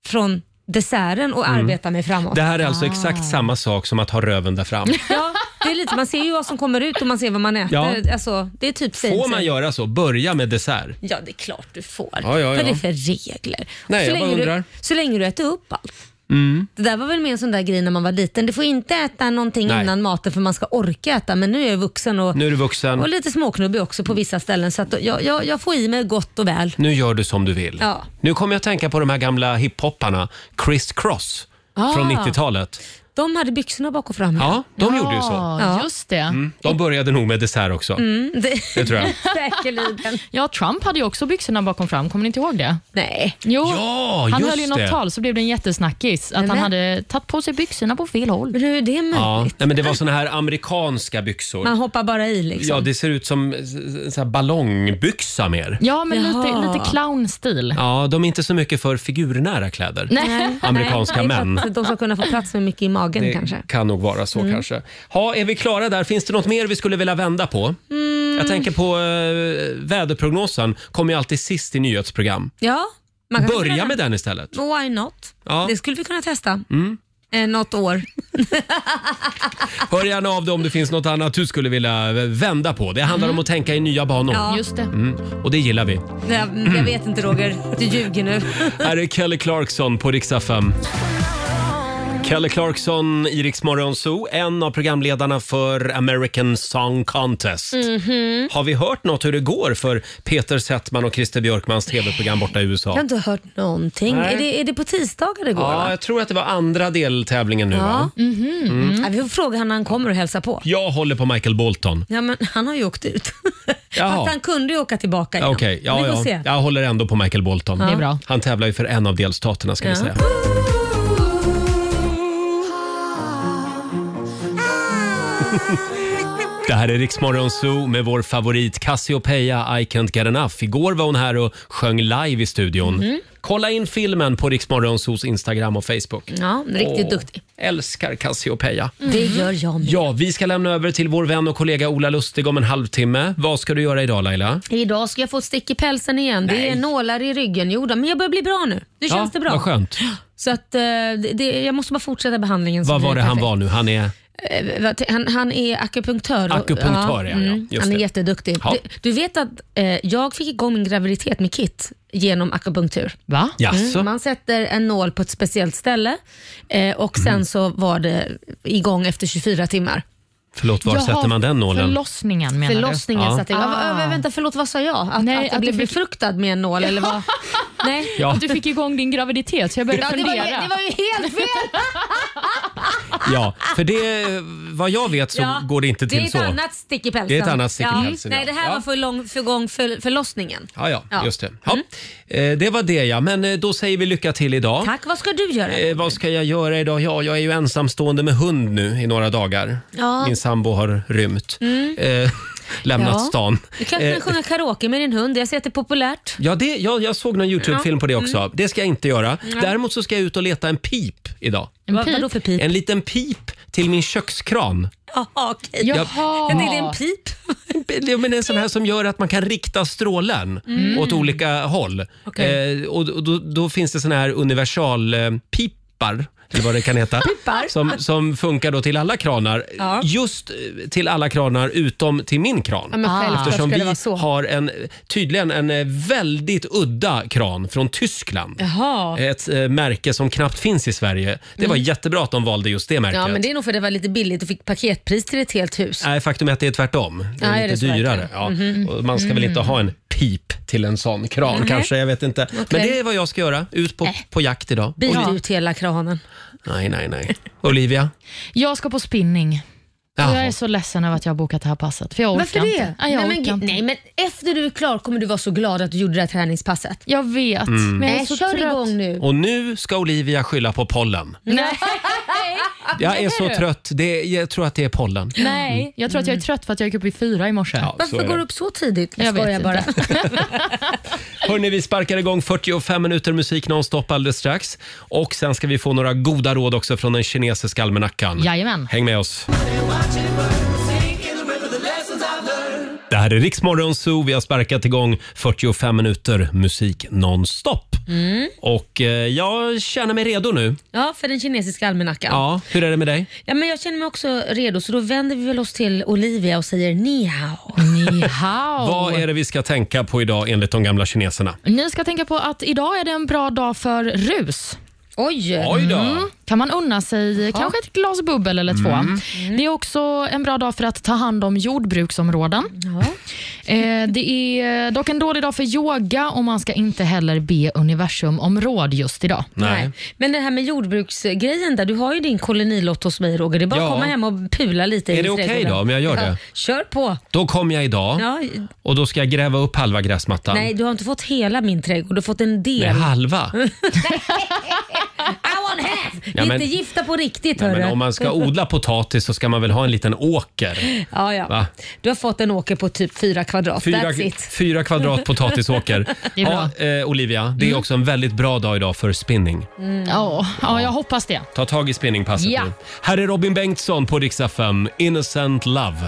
från desserten och
Mm.
arbeta mig framåt.
Det här är alltså
Ah.
exakt samma sak som att ha röven där fram.
Ja, det är lite, man ser ju vad som kommer ut och man ser vad man äter.
Ja.
Alltså, det är typ same,
Får
same.
man göra så? Börja med dessert?
Ja, det är klart du får.
Ja, ja,
Vad är
ja.
det för regler?
Nej,
så,
jag bara
länge
undrar.
du, så länge du äter upp allt.
Mm.
Det där var väl mer en sån där grej när man var liten. Du får inte äta någonting
Nej.
innan maten för man ska orka äta. Men nu är jag vuxen och,
Nu är du vuxen.
och lite småknubbig också på vissa ställen. Så att jag, jag, jag får i mig gott och väl.
Nu gör du som du vill.
Ja.
Nu kommer jag att tänka på de här gamla hiphopparna, Chris Cross
Ah.
från 90-talet.
De hade byxorna bak och fram.
Ja, de gjorde ju så.
Ja.
Just det.
Mm, de började nog med dessert också.
Mm,
det,
Det tror jag.
Säkerligen.
Ja, Trump hade ju också byxorna bakom fram. Kommer ni inte ihåg det?
Nej.
Jo,
Ja,
han
just
höll ju något
det.
tal så blev det en jättesnackis att han
men-
hade tagit på sig byxorna på fel håll.
Men hur är det
Ja, nej, men det var såna här amerikanska byxor.
Man hoppar bara i liksom.
Ja, det ser ut som s- s- så här ballongbyxa mer.
Ja, men lite,
Jaha.
lite clownstil.
Ja, de är inte så mycket för figurnära kläder. Amerikanska
Nej, det är för
män.
att De ska kunna få plats med mycket i magen
Det
kanske.
kan nog vara så
Mm.
kanske. Ha, är vi klara där? Finns det något mer vi skulle vilja vända på?
Mm.
Jag tänker på eh, väderprognosen. Kommer ju alltid sist i nyhetsprogram.
Ja, man kan
Börja med den istället.
Why not?
Ja.
Det skulle vi kunna testa.
Mm.
Eh, något år.
Hör gärna av dig om det finns något annat du skulle vilja eh, vända på. Det handlar om att tänka i nya banor.
Ja. Just det.
Mm. Och det gillar vi.
Nej, Jag, jag vet inte Roger, du ljuger nu.
Här är Kelly Clarkson på Riksa 5. Kelly Clarkson i Rix Morgon Zoo, en av programledarna för American Song Contest.
Mhm.
Har vi hört något hur det går för Peter Settman och Christer Björkmans tv-program borta i
Jag
USA?
har inte hört någonting.
Nej.
Är det, är det på tisdagar det går?
Ja,
va?
jag tror att det var andra deltävlingen nu va?
ja. Mhm.
Mm.
Ja, vi får fråga honom när han kommer och hälsa på.
Jag håller på Michael Bolton.
Ja, men han har ju åkt ut.
Jaha.
Fast han kunde ju åka tillbaka igen.
Okej, ja,
Men vi får
ja.
se.
jag håller ändå på Michael Bolton.
Ja. Det är bra.
Han tävlar ju för en av delstaterna ska
Ja.
vi säga. Det här är Riksmorgon Zoo med vår favorit Cassiopeia I Can't Get Enough. Igår var hon här och sjöng live i studion.
Mhm.
Kolla in filmen på Riksmorgon Zoos Instagram och Facebook.
Ja, riktigt
Åh,
duktig. Mhm. Mm.
Älskar Cassiopeia.
Det gör jag med.
Ja, vi ska lämna över till vår vän och kollega Ola Lustig om en halvtimme. Vad ska du göra idag Laila?
Idag ska jag få ett stick i pälsen igen. Det är nålar i ryggen. Jo, då, men jag börjar bli bra nu. Nu känns det bra.
Vad skönt.
Så att, eh, det, det, jag måste bara fortsätta behandlingen. så
Vad
blir
var det han
perfekt.
var nu? Han är...
Eh, vad- Han, han är akupunktör. och- Mm.
Akupunktör, ja, ja. Just
han är
det.
jätteduktig.
Ja.
Du, du vet att eh, jag fick igång min graviditet med KIT genom akupunktur. Mm.
Va?
Jaså?
Man sätter en nål på ett speciellt ställe eh, och
Mm.
sen så var det igång efter 24 timmar.
Förlåt, var sätter man den nålen?
Förlossningen menar
Förlossningen
Ja.
satte jag. Ah.
Ah.
vänta, förlåt, vad sa jag? Att,
Nej,
att jag
att
blev
du fick-
befruktad med en nål eller vad? Nej.
Ja.
Att du fick igång din graviditet så jag började
Ja, det, var
fundera.
ju, det var ju helt fel!
Ja, för det, vad jag vet så
Ja,
går det inte till
det är ett
så.
Annat stick i pälsen.
Det är ett annat stick i
Ja.
pälsen, ja.
Nej, det här
Ja.
var för, lång, för gång för, förlossningen.
Ja, ja,
Ja. Mm.
just det. Ja. Eh, Det var det ja, men eh, då säger vi lycka till idag.
Tack, vad ska du göra?
Eh, vad ska jag göra idag? Ja, jag är ju ensamstående med hund nu i några dagar.
Ja.
Min sambo har rymt.
Mm.
Eh, lämnat
Ja.
stan.
Du kanske
Eh,
kan sjunga karaoke med din hund. Jag ser att det är populärt.
Ja, det, jag, jag såg någon YouTube-film på det också.
Mm.
Det ska jag inte göra.
Nej.
Däremot så ska jag ut och leta en pip idag.
En Vad- pip? vadå för pip?
En liten pip till min kökskran.
Jaha, okej.
Jaha.
Jag tänkte en pip.
typ, Ja, men en sån här som gör att man kan rikta strålen
Mm.
åt olika håll.
Okej.
Eh, och och då, då finns det såna här universalpipar, eller vad det kan heta,
Pipar.
som, som funkar då till alla kranar.
Ja.
Just eh, till alla kranar utom till min kran.
Ja, men självklart
Eftersom
ska det
vi
vara så.
har en, tydligen en eh, väldigt udda kran från Tyskland.
Jaha.
Ett eh, märke som knappt finns i Sverige. Det var
Mm.
jättebra att de valde just det märket.
Ja, men det är nog för det var lite billigt och fick paketpris till ett helt hus.
Nej, faktum är att det är tvärtom. Det är
Ja, är det
lite
så
dyrare.
verkligen?
Ja.
Mhm.
Och man ska väl inte
Mm.
ha en pip till en sån kran
Nej.
kanske, jag vet inte. Men det är vad jag ska göra. Ut på, på jakt idag.
Bit
Oli-
ut hela kranen.
Nej, nej, nej. Olivia?
Jag ska på spinning. Och
Jaha.
jag är så ledsen över att jag har bokat det här passet. För jag orkar
Varför det?
Inte. Ja, jag
nej,
orkar
men,
inte.
nej, men efter du är klar kommer du vara så glad att du gjorde det här träningspasset.
Jag vet,
Mm.
men jag är
Nej,
så
kör
trött.
igång nu.
Och nu ska Olivia skylla på pollen.
Nej.
Jag är så
du?
trött. Det, jag tror att det är pollen.
Nej, jag tror att jag
Mm.
är trött för att jag gick upp i fyra i morse.
så är det.
upp så tidigt?
Jag
Skojar
vet
bara.
inte.
Hörni, vi sparkar igång 45 minuter musik nonstop alldeles strax. Och sen ska vi få några goda råd också från den kinesiska almanackan.
Jajamän.
Häng med oss. Det här är Riksmorgon Zoo. Vi har sparkat igång 45 minuter musik nonstop.
Mm.
Och eh, jag känner mig redo nu.
Ja, för den kinesiska almanackan.
Ja, hur är det med dig?
Ja, men jag känner mig också redo, så då vänder vi väl oss till Olivia och säger ni hao.
Ni hao.
Vad är det vi ska tänka på idag enligt de gamla kineserna?
Ni ska tänka på att idag är det en bra dag för rus.
Oj!
Oj då.
Kan man unna sig kanske ett glas bubbel eller två.
Mm.
Det är också en bra dag för att ta hand om jordbruksområden. Eh, det är dock en dålig dag för yoga och man ska inte heller be universum om råd just idag.
Nej.
Men det här med jordbruksgrejen där, du har ju din kolonilott hos mig Roger. Det är bara
Ja.
att komma hem och pula lite i
Är det okej
trädgården.
då, om jag gör det?
Kör på.
Då kom jag idag
Ja.
och då ska jag gräva upp halva gräsmattan.
Nej, du har inte fått hela min trädgård. Du har fått en del.
Nej, halva?
I want half!
Ja, men-
Inte gifta på riktigt
Nej,
hörru.
men om man ska odla potatis så ska man väl ha en liten åker?
Ja, ja.
Va?
Du har fått en åker på typ fyra kvadrat.
Fyra,
That's it.
fyra kvadrat potatisåker.
Det är bra.
Ja, eh, Olivia, det är också en väldigt bra dag idag för spinning.
Ja, ja, jag hoppas det.
Ta tag i spinningpasset
Ja.
nu. Här är Robin Bengtsson på Rix FM, Innocent Love.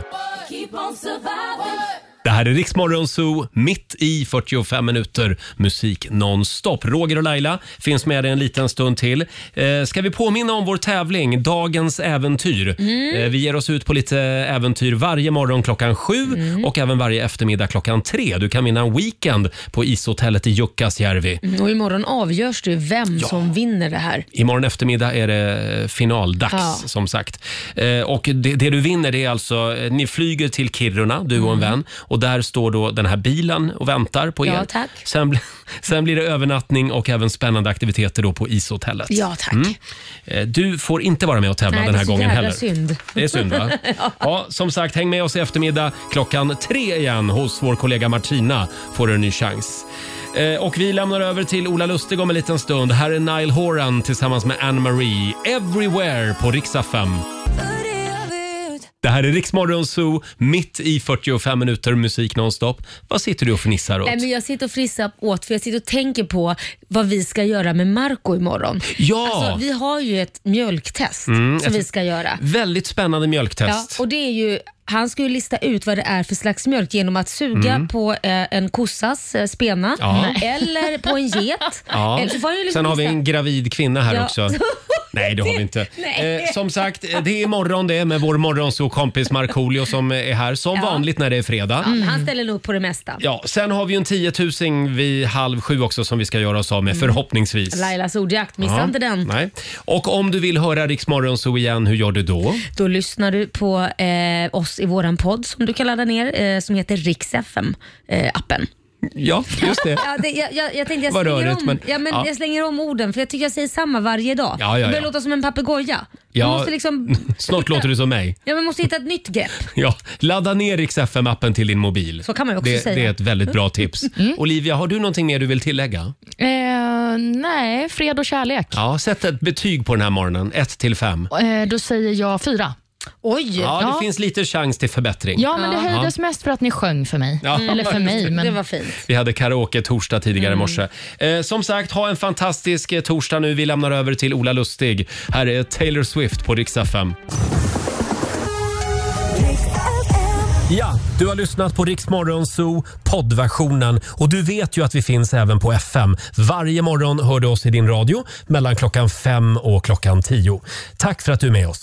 Det här är Rix Morgon Zoo, mitt i 45 minuter musik nonstop. Roger och Laila finns med dig en liten stund till. Eh, ska vi påminna om vår tävling Dagens äventyr?
Mm.
Eh, vi ger oss ut på lite äventyr varje morgon klockan sju och även varje eftermiddag klockan tre. Du kan vinna en weekend på ishotellet i Jukkasjärvi.
Mm, Och imorgon avgörs det ju vem som vinner det här.
Imorgon eftermiddag är det eh, finaldags
Ja.
som sagt. Eh, och det, det du vinner det är alltså, eh, ni flyger till Kiruna, du och en vän. Och där står då den här bilen och väntar på er.
Mm. Ja, tack.
Sen, bli- sen blir det övernattning och även spännande aktiviteter då på ishotellet.
Ja, tack.
Eh, Du får inte vara med och tävla
Nej,
den
det är
här
så
gången
jävla
heller.
synd.
Det är synd va? ja. som sagt, häng med oss i eftermiddag klockan tre igen hos vår kollega Martina får du en ny chans. Eh, och vi lämnar över till Ola Lustig om en liten stund. Här är Nile Horan tillsammans med Anne Marie. Everywhere på riksdag 5. Det här är Riksmorgon Zoo, mitt i 45 minuter musik nonstop. Vad sitter du och fnissar åt?
Nej, men jag sitter och frissar åt för jag sitter och tänker på vad vi ska göra med Marco imorgon.
Ja!
Alltså, vi har ju ett mjölktest
Mm,
som
ett
vi ska göra.
Väldigt spännande
Ja,
mjölktest.
och det är ju, han ska ju lista ut vad det är för slags mjölk genom att suga
Mm.
på eh, en kossas eh, spena
Ja. Nej.
eller på en get.
Ja.
Eller så var det ju liksom
Sen har vi en
lista-
gravid kvinna här
Ja.
också. Nej, det har vi inte.
Nej.
Eh, som sagt, eh, det är imorgon det med vår morgonsokompis Markoolio som är här som
Ja. Mm.
vanligt när det är fredag.
Ja, men Han ställer nog upp på det mesta.
Ja, sen har vi ju en tiotusing vid halv sju också som vi ska göra oss av med
Mm.
förhoppningsvis.
Lailas ordjakt, missa
Ja,
inte den.
Nej. Och om du vill höra Rix Morgonzoo igen, hur gör du då?
Då lyssnar du på eh, oss i våran podd som du kan ladda ner eh, som heter Rix FM-appen.
Ja, just det.
Ja, det, jag, jag, jag tänkte jag
Vad
slänger,
rörigt,
om,
men-
ja, men
ja.
jag slänger om orden för jag tycker jag säger samma varje dag.
Ja, ja,
Jag börjar
ja.
låta som en papegoja.
Ja,
Man måste liksom,
Snart låter du som mig.
ja, man måste hitta ett nytt grepp.
Ja, ladda ner Rix FM-appen till din mobil.
Så kan man ju också
det,
säga. Mm.
Det är ett väldigt bra tips. Olivia, har du någonting mer du vill tillägga?
Eh, nej, fred och kärlek.
Ja, sätt ett betyg på den här morgonen. 1 till 5.
Eh, då säger jag fyra.
Oj!
Ja, det finns lite chans till förbättring.
ja men det höjdes mest för att ni sjöng för mig.
Ja.
Eller för mig. Men...
Det
var fint.
Vi hade karaoke torsdag tidigare i morse. Eh, som sagt, ha en fantastisk eh, torsdag nu. Vi lämnar över till Ola Lustig. Här är Taylor Swift på Rix FM. Ja, du har lyssnat på Rix Morgon Zoo poddversionen och du vet ju att vi finns även på FM. Varje morgon hör du oss i din radio mellan klockan fem och klockan tio. Tack för att du är med oss.